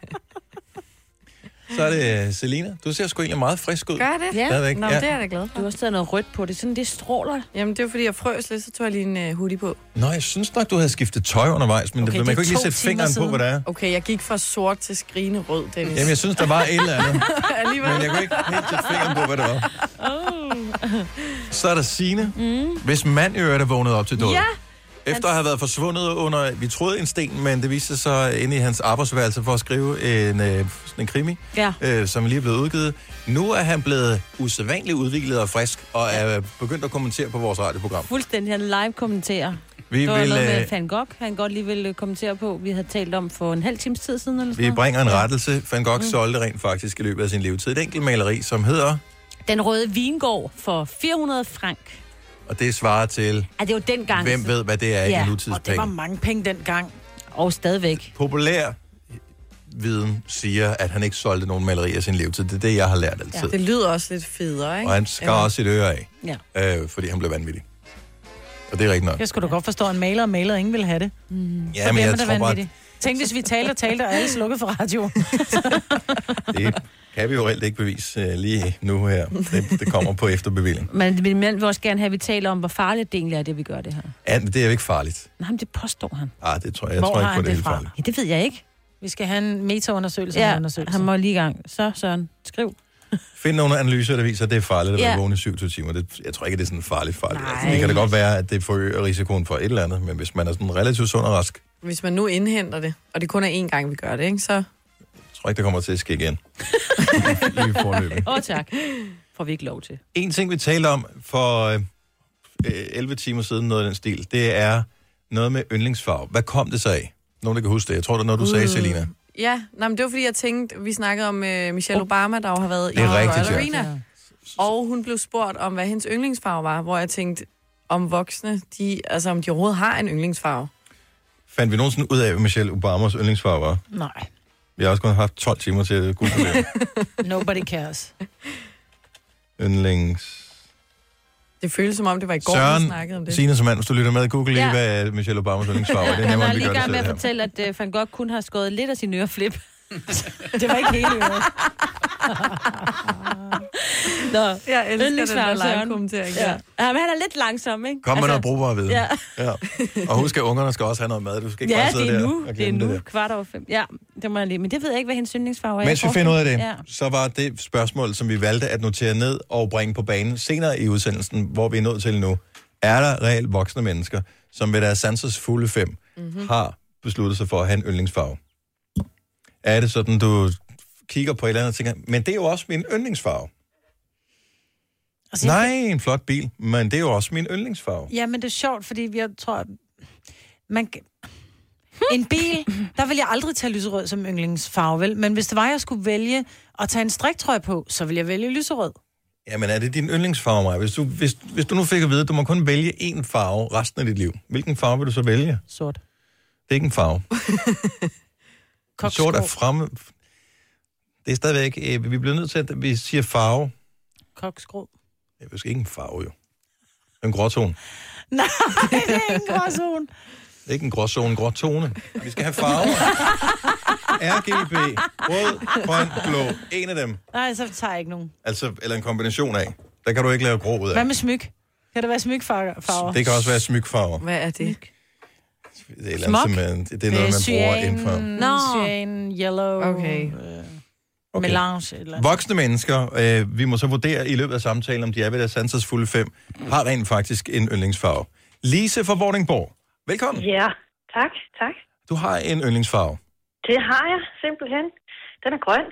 Så er det øh, Selina. Du ser sgu egentlig meget frisk ud.
Gør det?
Stadigvæk.
Nå,
ja.
det er jeg da glad for. Mm. Du har stadig noget rødt på det. Sådan, det stråler. Jamen, det er fordi, jeg frøs lidt, så tog jeg lige en øh, hoodie på.
Nå, jeg synes nok, du havde skiftet tøj undervejs, men okay, det, man kan ikke lige sætte fingeren på, hvad det er.
Okay, jeg gik fra sort til skrigende rød, Dennis.
Jamen, jeg synes, der var et eller andet.
Alligevel.
Men jeg kunne ikke helt sætte fingeren på, hvad det var. Så er der Signe.
Mm.
Hvis mand i øvrigt er vågnet op til døden.
Ja.
Efter at have været forsvundet under, vi troede en sten, men det viste sig så inde i hans arbejdsværelse for at skrive en, øh, sådan en krimi,
Ja.
øh, som lige er blevet udgivet. Nu er han blevet usædvanligt udviklet og frisk, og er øh, begyndt at kommentere på vores radioprogram.
Fuldstændig, han live kommenterer.
Vi
det var
vil,
noget med
øh,
Van Gogh, han godt lige ville kommentere på, vi havde talt om for en halv times tid siden. Eller sådan
Vi
noget.
bringer en rettelse. Van Gogh
Mm.
solgte rent faktisk i løbet af sin levetid et enkelt maleri, som hedder,
Den røde vingård for 400 frank.
og det svarer til,
Ah, det var dengang.
hvem ved, hvad det er
Ja,
i
Og det var
nutidspenge.
mange penge dengang.
Og stadigvæk.
Populær viden siger, at han ikke solgte nogen malerier i sin levetid. Det er det, jeg har lært altid.
Det lyder også lidt federe, ikke?
Og han skar også sit øre af,
Ja.
øh, fordi han blev vanvittig. Og det er rigtigt nok.
Jeg skulle da godt forstå, at en maler og maler ingen vil have det.
Mm-hmm.
Mm.
Ja, men jeg tror bare,
Tænk, hvis vi talte og talte, og alle slukkede for radioen.
Det kan vi jo reelt ikke bevise øh, lige nu her. Det, det kommer på efterbevilling.
Men min mand vil også gerne have, at vi taler om, hvor farligt det egentlig er, det vi gør det her.
Ja, men det er jo ikke farligt.
Nej, men det påstår han.
Ah, det tror jeg, jeg tror ikke på, det er helt farligt.
Ja, det ved jeg ikke.
Vi skal have en metaundersøgelse.
Ja,
en undersøgelse.
han må lige i gang. Så, Søren, skriv.
Find nogle analyser, der viser, at det er farligt at
Ja.
være vågen i 27 timer. Det, jeg tror ikke, at det er sådan farligt farligt. Altså, det kan da godt være, at det forøger risikoen for et eller andet, men hvis man er sådan relativt sund og rask,
Hvis man nu indhenter det, og det kun er én gang, vi gør det, ikke? Så...
tror jeg ikke, det kommer til at ske igen.
Åh, oh, tak. Får vi ikke lov til.
En ting, vi talte om for øh, øh, 11 timer siden, noget af den stil, det er noget med yndlingsfarve. Hvad kom det så af? Nogen, der kan huske det. Jeg tror, det er noget, du sagde,
Mm.
Selina.
Ja, nej, men det var fordi, jeg tænkte, vi snakkede om øh, Michelle Obama, der jo har været i
Det er
Royal
rigtigt, ja.
Arena. Og hun blev spurgt om, hvad hendes yndlingsfarve var, hvor jeg tænkte, om voksne, de, altså om de overhovedet har en yndlingsfarve.
Fandt vi nogensinde ud af, hvad Michelle Obamas yndlingsfarve var?
Nej.
Vi har også kun haft 12 timer til at google det.
Nobody cares.
Yndlings...
Det føles som om, det var i går, vi snakkede om
Søren,
det.
Signe som mand, hvis du lytter med, google lige,
Ja.
hvad er Michelle Obamas yndlingsfarve er. Det er
Han
nemmere,
var
end vi
lige
gør
i
det
gang med
selv
at
her.
fortælle, at uh, Van Gogh kun har skåret lidt af sin øreflip.
det var ikke hele øret.
Nå,
jeg elsker den der
yndlingsfarve, Søren.
live-kommentering, ja.
Ja. Ja, men han er lidt langsom, ikke? Altså,
Kom med noget brugbar viden.
Ja.
Ja. Og husk, at ungerne skal også have noget mad. Du skal ikke
ja,
bare sidde
det er
der
nu.
og
det er
glemme
nu.
det der.
Kvart over fem. Ja, det må jeg lige. Men det ved jeg ikke, hvad hendes yndlingsfarve er.
Mens vi
Jeg
finder ud af det,
Ja.
så var det spørgsmål, som vi valgte at notere ned og bringe på banen senere i udsendelsen, hvor vi er nået til nu. Er der reelt voksne mennesker, som ved deres sansers fulde fem
Mm.
mm-hmm. har besluttet sig for at have en yndlingsfarve? Er det sådan, du kigger på et eller andet og tænker, men det er jo også min yndlingsfarve. Altså, Nej, en flot bil, men det er jo også min yndlingsfarve.
Ja, men det er sjovt, fordi vi- jeg tror, at man... kan- En bil, der vil jeg aldrig tage lyserød som yndlingsfarve, vel? Men hvis det var, jeg skulle vælge at tage en striktrøje på, så ville jeg vælge lyserød.
Jamen, er det din yndlingsfarve, Maja? Hvis du, hvis, hvis du nu fik at vide, at du må kun vælge én farve resten af dit liv, hvilken farve vil du så vælge?
Sort.
Det er ikke en farve.
Koksko.
Sort er fremme... Det er stadigvæk... Øh, vi bliver nødt til, at vi siger farve.
Koksgrå.
Det er måske ikke en farve, jo. Det er En gråtone.
Nej, det er ikke en gråzone.
Det er ikke en gråzone, en gråtone. Vi skal have farver. RGB, rød, grøn, blå. En af dem.
Nej, så tager jeg ikke nogen.
Altså, eller en kombination af. Der kan du ikke lave grå ud af.
Hvad med smyk? Kan det være smykfarver?
Det kan også være smykfarver.
Hvad er det?
Det er, et eller andet, som, øh, det, det er noget, man bruger inden for...
Nå. Cyan, yellow, okay. Øh, okay. melange. et Eller. andet.
Voksne mennesker, øh, vi må så vurdere i løbet af samtalen, om de er ved deres sansers fulde fem, har rent faktisk en yndlingsfarve. Lise fra Vordingborg, velkommen.
Ja, tak, tak.
Du har en yndlingsfarve.
Det har jeg simpelthen. Den er grøn.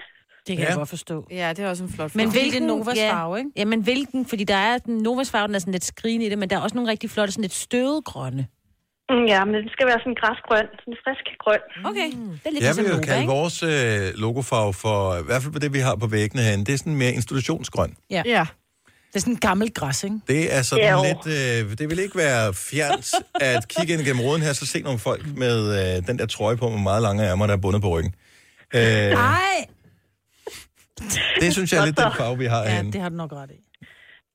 Det
kan jeg Ja. godt
forstå.
Ja, det er også en flot
Men
farve.
hvilken Novas
Ja.
farve, ikke? Ja, men hvilken? Fordi der er den Novas farve, den er sådan lidt skrigende i det, men der er også nogle rigtig flotte, sådan lidt støvet grønne.
Mm, Ja, men den skal være sådan græsgrøn, sådan frisk grøn.
Okay, det er lidt
Jeg
ligesom
vil jo
Nova,
kalde
ikke?
vores øh, logofarve for, i hvert fald på det, vi har på væggene herinde, det er sådan mere institutionsgrøn.
Ja.
ja.
Det er sådan en gammel græs, ikke?
Det er sådan
Ja, jo.
lidt, øh, det vil ikke være fjernt at kigge ind gennem ruden her, så se nogle folk med øh, den der trøje på med meget lange ærmer, der er bundet på ryggen. Øh,
Nej!
det synes jeg er lidt den farve, vi har
Ja,
herinde.
det har du nok ret i.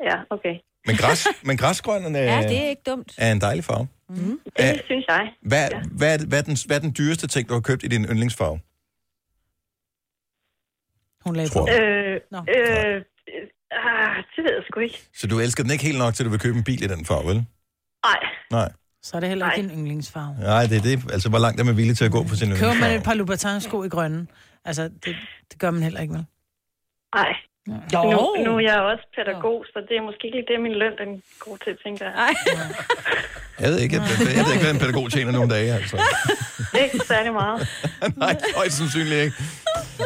Ja, okay.
Men, græs, men græsgrønnerne
Ja, det er ikke dumt.
er en dejlig farve.
Mhm. Mm-hmm.
Mm.
Æh,
Det synes jeg.
Hvad, ja. hvad, er det- hvad, er den, hvad er den dyreste ting, du har købt i din yndlingsfarve?
Hun lagde
Tror jeg.
Øh, øh, øh, ah, det ved jeg sgu ikke.
Så du elsker den ikke helt nok, til du vil købe en bil i den farve, vel?
Nej.
Nej.
Så er det heller ikke en yndlingsfarve.
Nej, det er det. Altså, hvor langt er man villig til at gå på sin
Køber man
yndlingsfarve?
et par Louboutin-sko i grønne? Altså, det, det gør man heller ikke, vel?
Nej.
Jo.
Nu, nu er jeg også pædagog, så det er måske ikke lige det, min løn den er god til, tænker jeg. Nej.
Jeg ved ikke, jeg, jeg ved ikke, hvad en pædagog tjener nogle dage, altså.
ikke særlig meget.
Nej, højst sandsynligt ikke.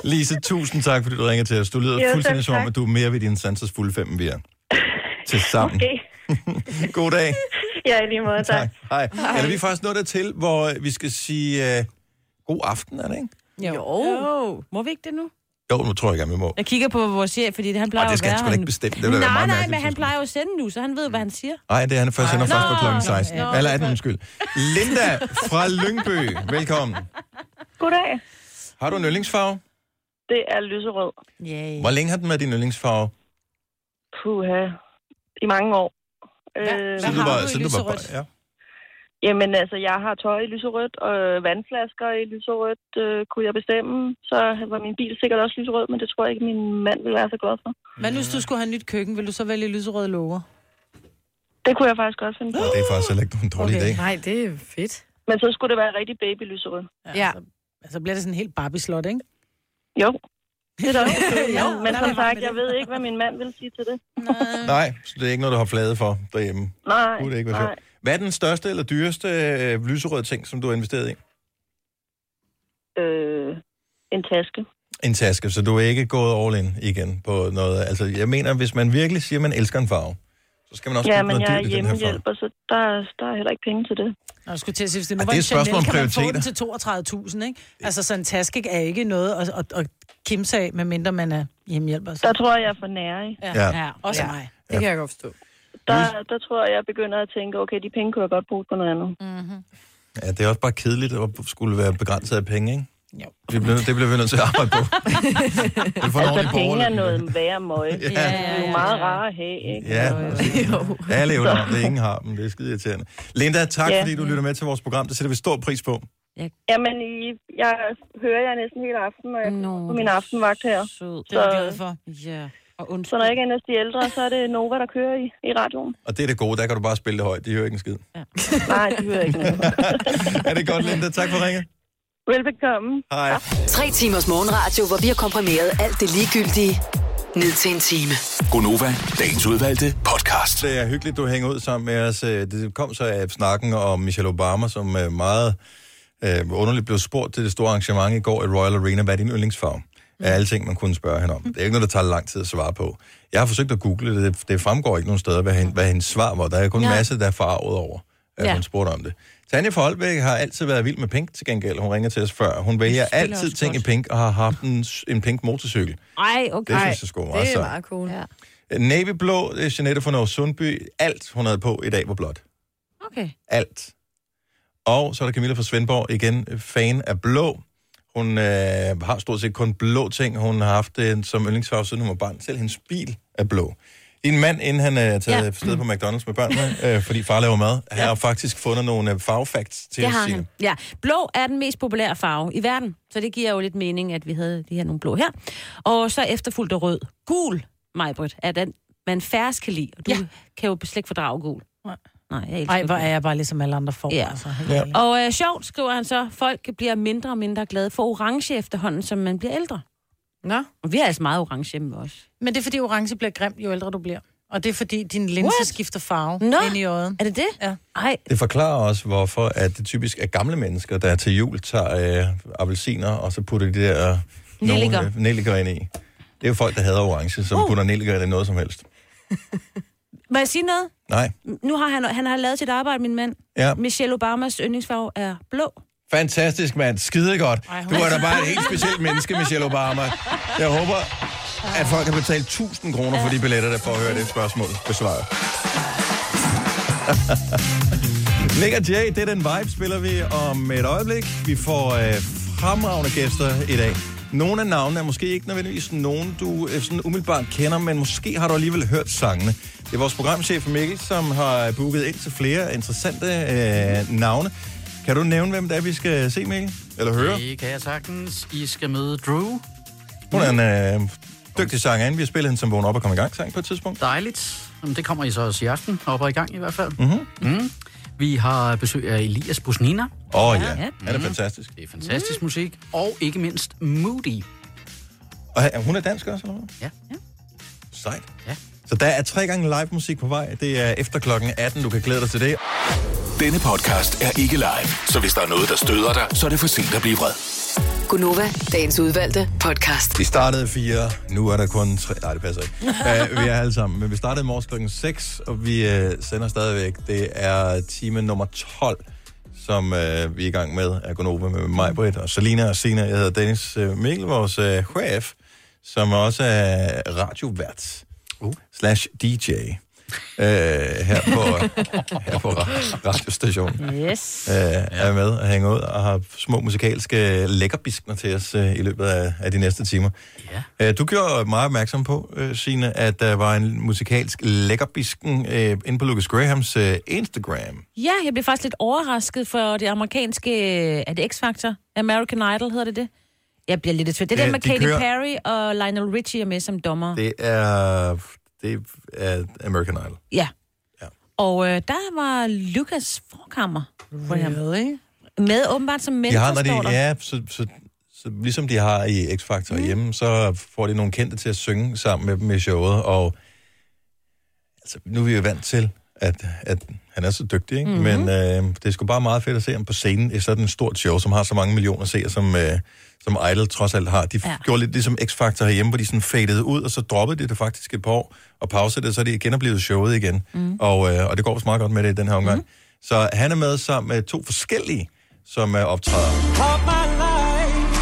Lise, tusind tak, fordi du ringer til os. Du lyder
Jo,
jo,
selv
fuldstændig som om,
tak.
at du er mere ved dine sansers fulde fem, end vi er. Til sammen.
Okay.
God dag.
Ja, i lige måde, tak. tak.
Hej.
Hej.
Eller vi er faktisk nået dertil, hvor vi skal sige øh, god aften, er det ikke?
Jo. jo. Må vi ikke det nu?
Jo, nu tror jeg gerne, vi må.
Jeg kigger på vores chef, fordi det, han plejer
Ej, det skal
at
han
være
sgu da ikke bestemme. Det
nej,
ville da være meget
nej,
mærkeligt,
men
hvis
han plejer jo at sende nu, så han ved, hvad han siger.
Nej, det er han først. Han er
Ej.
først på
Nå.
klokken 16.
Nå.
Eller 18, undskyld. Linda fra Lyngby, velkommen.
Goddag.
Har du en yndlingsfarve?
Det er lyserød.
Yay.
Hvor længe har den været din yndlingsfarve?
Puha. I mange år. Øh,
Så du var- så du var bare- ja.
Jamen altså, jeg har tøj i lyserødt, og vandflasker i lyserødt øh, kunne jeg bestemme. Så var min bil sikkert også lyserød, men det tror jeg ikke, min mand ville være så glad for.
Hvad nu, hvis du skulle have nyt køkken? Vil du så vælge lyserøde låger?
Det kunne jeg faktisk også finde på.
Det er faktisk heller ikke nogen dårlig okay. idé.
Nej, det er fedt. Men så skulle det være rigtig baby lyserød.
Ja. Så, altså bliver det sådan helt Barbie-slot, ikke?
Jo. Det er da også
Jo,
jo, men
der er
som
vi varme
sagt,
ved
jeg ved ikke, hvad min mand vil sige til det.
Nej, så det er ikke noget, du har flade for derhjemme.
Nej,
Kunne det ikke være
nej.
sjovt. Hvad er den største eller dyreste øh, lyserøde ting, som du har investeret i?
Øh, en taske.
En taske, så du er ikke gået all in igen på noget. Altså, jeg mener, hvis man virkelig siger, at man elsker en farve, så skal man også
Ja,
købe
men
noget
jeg
dyrt
er
i den her farve.
hjemmehjælper, så der, er- der er heller ikke penge til det.
Nå, jeg skulle til at sige, hvis det nu
Ej,
var
det
en
er et spørgsmål
Chanel,
om
kan man få den til
prioriteter.
32.000, ikke? Altså, så en taske er ikke noget at, at, at kimse af, medmindre man er hjemmehjælper. Så.
Der tror jeg, jeg er for nærig.
Ja.
ja. også ja. mig.
Det kan
jeg godt forstå.
Der, der tror jeg, jeg begynder at tænke, okay, de penge kunne jeg godt bruge på noget andet.
Mhm.
Mm-hmm.
Ja, det er også bare kedeligt at skulle være begrænset af penge, ikke? Jo. Det bliver, det bliver vi nødt til at arbejde på. Vi får en
altså, penge
ordentlig
er
borgerløn.
noget værre møg. ja, ja, ja, Det er jo meget rart at have, ikke? Altså,
Ja,
Jo.
alle evner, om det ingen har, men det er skide irriterende. Linda, tak
Ja.
fordi du lytter med til vores program. Det sætter vi stor pris på.
Jamen, I, jeg hører jer næsten hele aften, når jeg er på min aftenvagt her.
Sød.
Så,
for.
Ja. Og
så når jeg ikke er næste de ældre, så er det Nova, der kører i, i radioen.
Og det er det gode, der kan du bare spille det højt. De hører ikke en skid.
Nej, det hører jeg ikke noget.
er det godt, Linda? Tak for ringet.
Velbekomme.
Hej.
Tre timers morgenradio, hvor vi har komprimeret alt det ligegyldige ned til en time.
Gonova, dagens udvalgte podcast.
Det er hyggeligt, du hænger ud sammen med os. Øh, Det kom så af snakken om Michelle Obama, som øh, meget øh, underligt blev spurgt til det store arrangement i går i Royal Arena. Hvad er din yndlingsfarve? Af alle ting, man kunne spørge hende om. Det er ikke noget, der tager lang tid at svare på. Jeg har forsøgt at google det. Det- Det fremgår ikke nogen steder, hvad, hende, hvad hendes svar var. Der er kun en
Nej.
masse, der er farvet over, at
Ja.
hun spurgte om det. Tanja Forholdbæk har altid været vild med pink til gengæld. Hun ringer til os før. Hun vælger
Det spiller
altid
også
ting i
godt.
pink og har haft en, en pink motorcykel.
Ej, okay.
Det synes jeg sgu er meget
Det er
sejt.
meget cool. Ja.
Navy Blå, det er Jeanette fra Norge Sundby. Alt, hun havde på i dag, var blåt.
Okay.
Alt. Og så er der Camilla fra Svendborg, igen øh, fan af blå. Hun øh, har stort set kun blå ting. Hun har haft det som yndlingsfarve, siden hun var barn. Selv hendes bil er blå. Din mand, inden han er taget
Ja.
ja. sted på McDonald's med børnene, øh, fordi far laver mad, han har faktisk fundet nogle øh, farvefacts til
Det
os,
har
Signe.
han. Ja. Blå er den mest populære farve i verden, så det giver jo lidt mening, at vi havde de her nogle blå her. Og så efterfulgt af rød. Gul, Majbrit, er den, man færrest kan lide. Og Du ja. kan jo slet ikke fordrage gul. Nej, jeg elsker
Ej, hvor
gul.
er jeg bare ligesom alle andre for.
Ja.
Altså,
Ja. Og øh, sjovt, skriver han så, folk bliver mindre og mindre glade for orange efterhånden, som man bliver ældre.
Nå.
Og vi er altså meget orange hjemme også.
Men det er, fordi orange bliver grimt, jo ældre du bliver. Og det er, fordi din linse
What?
What? skifter farve
Nå.
ind i øjet.
Er det det?
Ja.
Ej.
Det forklarer også, hvorfor at det typisk er gamle mennesker, der til jul tager øh, appelsiner, og så putter de der øh, nogle,
Nelliker.
øh, nelliker ind i. Det er jo folk, der hader orange, som uh. putter nelliker ind i noget som helst.
Må jeg sige noget?
Nej.
Nu har han, han har lavet sit arbejde, min mand.
Ja.
Michelle Obamas yndlingsfarve er blå.
Fantastisk, mand. Skide godt.
Ej, hun-
Du er da bare et helt specielt menneske, Michelle Obama. Jeg håber, at folk har betalt 1000 kroner for de billetter, der får at høre det spørgsmål besvaret. Nick og Jay, det er den vibe, spiller vi om et øjeblik. Vi får øh, fremragende gæster i dag. Nogle af navnene er måske ikke nødvendigvis nogen, du øh, sådan umiddelbart kender, men måske har du alligevel hørt sangene. Det er vores programchef Mikkel, som har booket ind til flere interessante øh, navne. Kan du nævne, hvem det er, vi skal se, Mikkel? Eller høre?
Det kan jeg sagtens. I skal møde Drew.
Hun er en øh, dygtig sangerinde. Vi har spillet hende som vågen op og kom i gang sang på et tidspunkt.
Dejligt. Jamen, det kommer I så også i aften, op og i gang i hvert fald.
Mhm.
Mm. Vi har besøg af Elias Busnina.
Åh oh, ja, Mhm. ja. han er
Mm.
fantastisk.
Det er fantastisk musik. Og ikke mindst Moody.
Og han- hun er dansk også, eller hvad?
Ja.
Sejt. Ja. Så der er tre gange live musik på vej. Det er efter klokken 18. Du kan glæde dig til det.
Denne podcast er ikke live, så hvis der er noget, der støder dig, så er det for sent at blive vred.
Gunova, dagens udvalgte podcast.
Vi startede fire, nu er der kun tre. Nej, det passer ikke. Uh, vi er alle sammen. Men vi startede i morges klokken 6, og vi uh, sender stadigvæk. Det er time nummer 12, som uh, vi er i gang med at gå over med mig, Britt, og Selina og Sina. Jeg hedder Dennis uh, Mikkel, vores uh, chef, som også er radiovært uh. slash DJ uh, her på, her på ra- radiostationen.
Yes.
øh, er med og hænger ud og har små musikalske lækkerbiskner til os øh, i løbet af, af de næste timer. Ja. Øh, du gjorde mig opmærksom på, øh, Signe, at der var en musikalsk lækkerbisken øh, inde på Lucas Grahams øh, Instagram.
Ja, jeg blev faktisk lidt overrasket for det amerikanske... øh, Er det X-Factor? American Idol hedder det det? Jeg bliver lidt i tvivl. Det er
Ja,
den med
de
Katy
kører-
Perry og Lionel Richie er med som dommer.
Det er, det er American Idol.
Ja. Og øh, der var Lukas Forkammer. Really? Med åbenbart som
de
mentor,
har, når
står der.
de, ja, så, så, så, ligesom de har i X-Factor mm. hjemme, så får de nogle kendte til at synge sammen med dem i showet, og altså, nu er vi jo vant til, at, at han er så dygtig, ikke?
Mhm.
Mm-hmm. men øh, det er sgu bare meget fedt at se ham på scenen i sådan et stort show, som har så mange millioner seere, som, øh, som Idol trods alt har. De ja. gjorde lidt ligesom X-Factor herhjemme, hvor de sådan fadede ud, og så droppede de det faktisk et par år, og pausede det, så de genoplevet showet igen.
Mhm.
Mm. Og, øh, og det går også meget godt med det i den her omgang. Mm. Så han er med sammen med to forskellige, som øh, optræder.
All my life,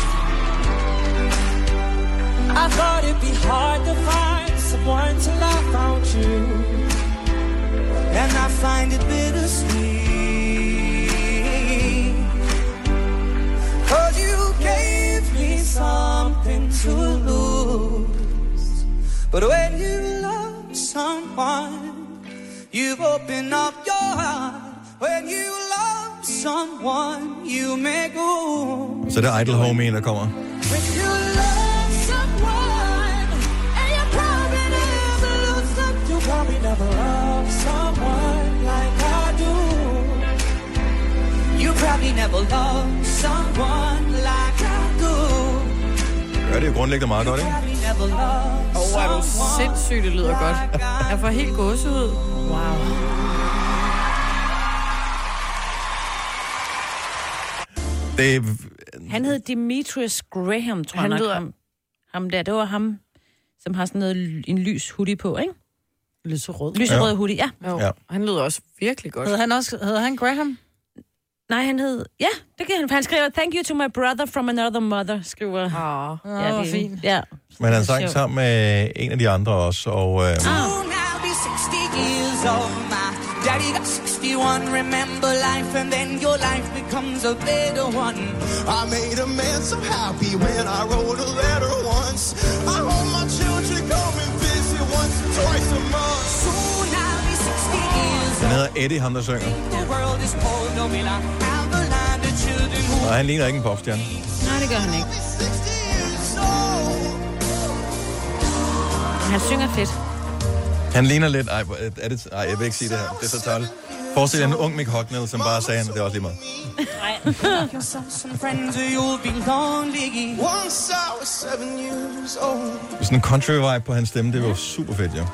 I thought it'd be hard to find someone till I found you, and I find it bittersweet. Cause you gave me something to lose, but when you love someone, you open up your heart. When you love someone, you make room.
Så det er Idol Homie, der kommer.
When you love someone and you probably never lose them, you probably never love someone like I do. You probably never love someone like I do.
Ja, det er grundlæggende meget godt, ikke?
Probably never love
Åh, oh, er du sindssygt, det lyder godt. Jeg får helt gåsehud. Wow.
Det,
Han hed Demetrius Graham, tror
Han
han jeg nok.
lyder-
Ham, ham der, det var ham, som har sådan noget, ly- en lys hoodie på, ikke?
Lyserød.
Lyserød
Ja.
hoodie, ja.
Jo.
Ja.
Han lyder også virkelig godt.
Hed han også, hed han Graham?
Nej, han hed... Ja, det kan han. Han skriver, thank you to my brother from another mother, skriver...
Åh,
oh,
hvor fint.
Ja.
Men han
Det er
sang
sjovt. Ah.
sammen med en af de andre også, og... Øh,
Soon I'll be 60 years old. My daddy got 61. Remember life, and then your life becomes a better one.
I made a man so happy when I wrote a letter once. I hope my children come and visit once or twice a month.
Soon I'll be 60 years
han hedder Eddie, ham der synger.
The world is cold, no will I have a line to children who
Og han ligner ikke en popstjerne.
Nej, det gør han ikke. Men Han synger fedt.
Han ligner lidt... Ej, hvor- er det, ej jeg vil ikke sige det her. Det er så tavligt. Forestil dig en ung Mick Hocknell, som bare sagde, at det er også lige meget.
Make yourself some friends or you'll be lonely.
Once I was seven years old.
Det er Sådan en country-vibe på hans stemme, det var super fedt, jo.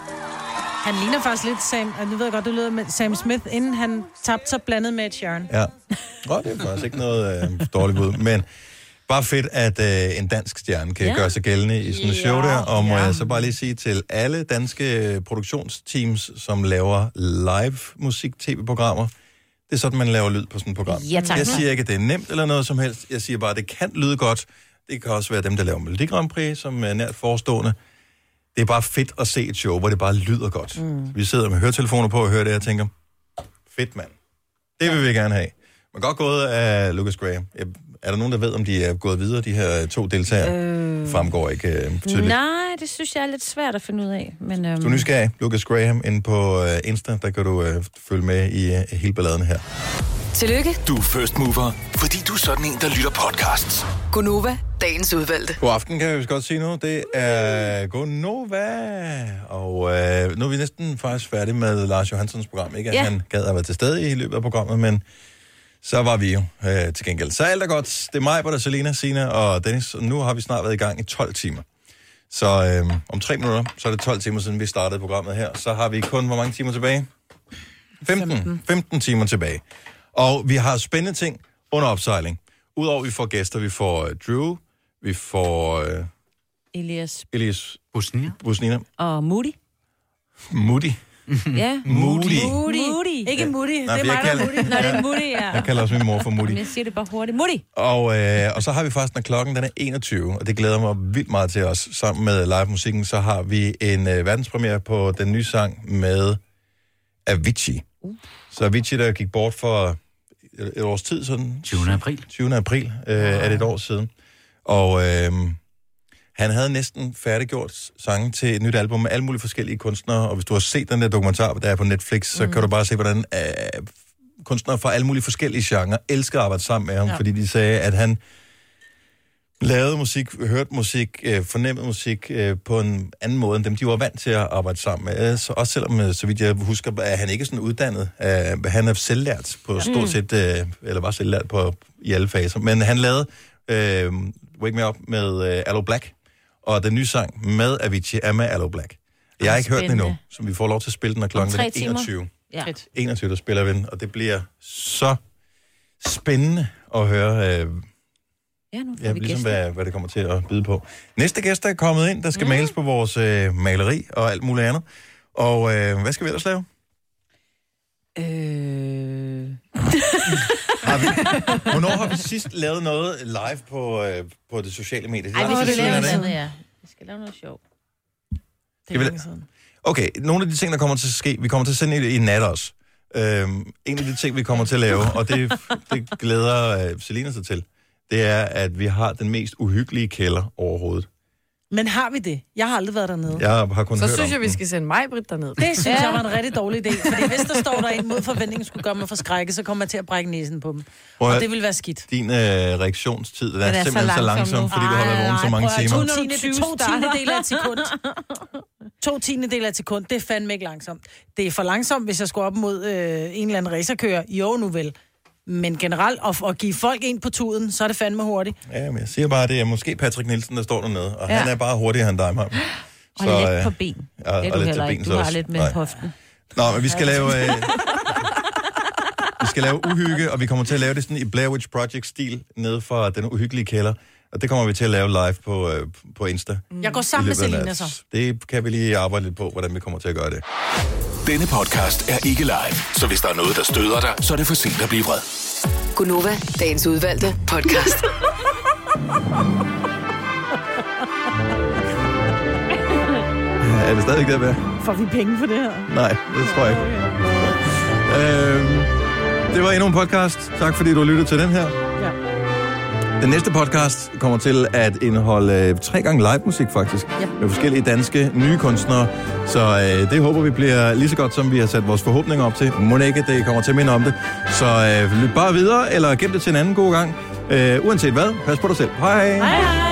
Han ligner faktisk lidt Sam, og nu ved jeg godt, det lyder med Sam Smith, inden han tabte sig blandet med Ed Sheeran.
Ja. Nå, det er faktisk ikke noget øh, dårligt bud, men bare fedt, at øh, en dansk stjerne kan
Ja.
ja. gøre sig gældende i sådan en show
Ja.
der, og må jeg så bare lige sige til alle danske øh, produktionsteams, som laver live musik-tv-programmer, det er sådan, man laver lyd på sådan et program.
Ja, tak.
Jeg siger ikke, at det er nemt eller noget som helst. Jeg siger bare, at det kan lyde godt. Det kan også være dem, der laver Melodi Grand Prix, som er nært forestående. Det er bare fedt at se et show, hvor det bare lyder godt. Mm. Vi sidder med høretelefoner på og hører det, og jeg tænker, fedt mand. Det vil vi gerne have. Men godt gået af Lucas Graham. Jeg- Er der nogen, der ved, om de er gået videre, de her to deltagere? Øh, Fremgår ikke øh, tydeligt.
Nej, det synes jeg er lidt svært at finde ud af. Men, øhm,
Hvis du er nysgerrig, Lucas Graham, ind på øh, Insta, der kan du øh, følge med i øh, hele balladen her.
Tillykke,
Du er first mover, fordi du er sådan en, der lytter podcasts.
Gunova, dagens udvalgte.
God aften, kan jeg vist godt sige nu. Det er Gonova. Og øh, nu er vi næsten faktisk færdige med Lars Johansons program. Ikke at
Ja.
ja. han gad at være til stede i løbet af programmet, men så var vi jo øh, til gengæld. Så alt er godt. Det er mig, Britta, Selena, Sina og Dennis. Og nu har vi snart været i gang i 12 timer. Så øh, om tre minutter, så er det 12 timer siden, vi startede programmet her. Så har vi kun, hvor mange timer tilbage? 15. 15 timer tilbage. Og vi har spændende ting under opsejling. Udover at vi får gæster, vi får øh, Drew, vi får øh,
Elias
Elias Busnina. Busnina.
og Moody.
Moody.
Ja.
Mm. Moody.
Moody. Moody. Ikke Moody.
Nej,
det
for jeg
er mig, der er
kalder-
Moody. Nå, det er Moody, ja.
Jeg kalder også min mor for Moody.
Men jeg siger det bare hurtigt. Moody.
Og, øh, og så har vi faktisk, når klokken den er 21, og det glæder mig vildt meget til os, sammen med live musikken, så har vi en øh, verdenspremiere på den nye sang med Avicii. Uh. Så Avicii, der gik bort for et, et års tid sådan. 20. april. 20. april øh, er det et år siden. Og øh, han havde næsten færdiggjort sange til et nyt album med alle mulige forskellige kunstnere, og hvis du har set den der dokumentar, der er på Netflix, så
Mm.
kan du bare se, hvordan øh, kunstnere fra alle mulige forskellige genrer elsker at arbejde sammen med ham,
Ja.
ja. fordi de sagde, at han lavede musik, hørte musik, øh, fornemmede musik øh, på en anden måde, end dem, de var vant til at arbejde sammen med. Øh, Så også selvom, øh, så vidt jeg husker, er han ikke sådan uddannet. Øh, han er selvlært på
Ja.
ja. stort
Mm.
set, øh, eller var selvlært på, i alle faser. Men han lavede øh, Wake Me Up med øh, Allo Black, og den nye sang med Avicii er med Allo Black. Jeg har ikke hørt den endnu,
Spændende.
så vi får lov til at spille den, når klokken er 21.
Ja.
21, der spiller vi den, og det bliver så spændende at høre, øh,
Ja, nu får
ja,
vi
ligesom
gæster.
hvad, hvad det kommer til at byde på. Næste gæst er kommet ind, der skal mm. males på vores øh, maleri og alt muligt andet. Og øh, hvad skal vi ellers lave?
Øh...
Har vi, hvornår har vi sidst lavet noget live på, øh, på det sociale medie?
Ej, vi
lang tid
skal
siden,
lave
er
noget
det ikke?
andet, ja. Vi skal lave noget sjovt.
Det er længe siden. Okay, nogle af de ting, der kommer til at ske, vi kommer til at sende i, i nat også. Øhm, en af de ting, vi kommer til at lave, og det, det glæder øh, Selina sig til, det er, at vi har den mest uhyggelige kælder overhovedet.
Men har vi det? Jeg har aldrig været dernede.
Jeg har kun
Så
hørt
synes
om
jeg, vi
den.
skal sende mig, Britt, derned.
Det synes jeg var en rigtig dårlig idé, fordi hvis der står der en mod forventningen skulle gøre mig for skrække, så kommer jeg til at brække næsen på dem.
Prøv at-
Og det vil være skidt.
Din øh, reaktionstid den er, er simpelthen så langsom,
nu.
fordi du har været vågen så
Ej,
mange
prøv at-
timer.
To tiende- To tiendedel af et sekund. To tiendedel af et sekund, det er fandme ikke langsomt. Det er for langsomt, hvis jeg skulle op mod øh, en eller anden racerkører. Jo, nu vel. Men generelt, at, at give folk ind på tuden, så er det fandme hurtigt.
Ja, men jeg siger bare, det er måske Patrick Nielsen, der står dernede, og
Ja.
ja. han er bare hurtigere end dig, Mark.
Og så, let
øh,
på ben.
Ja, og,
det er
og
du
lidt
heller
til
ikke.
ben,
Du har lidt med hoften.
Nå, men vi skal
Ja.
lave... Øh, vi skal lave uhygge, og vi kommer til at lave det sådan i Blair Witch Project-stil, nede fra den uhyggelige kælder. Og det kommer vi til at lave live på, øh, på Insta.
Jeg går sammen
I
med
løbet af
Selina
nat.
så.
Det kan vi lige arbejde lidt på, hvordan vi kommer til at gøre det.
Denne podcast er ikke live, så hvis der er noget, der støder dig, så er det for sent at blive vred.
Gunova, dagens udvalgte podcast.
Er det stadigvæk der, Bea?
Får vi penge for det her?
Nej, det tror jeg ikke. Øhm, det var endnu en podcast. Tak fordi du lyttede til den her.
Ja.
Den næste podcast kommer til at indeholde øh, tre gange live musik faktisk, ja. med forskellige danske nye kunstnere. Så øh, det håber vi bliver lige så godt, som vi har sat vores forhåbninger op til. Må ikke, det kommer til at minde om det. Så øh, lyt bare videre, eller gem det til en anden god gang. Øh, uanset hvad, pas på dig selv. Hej!
Hej hej.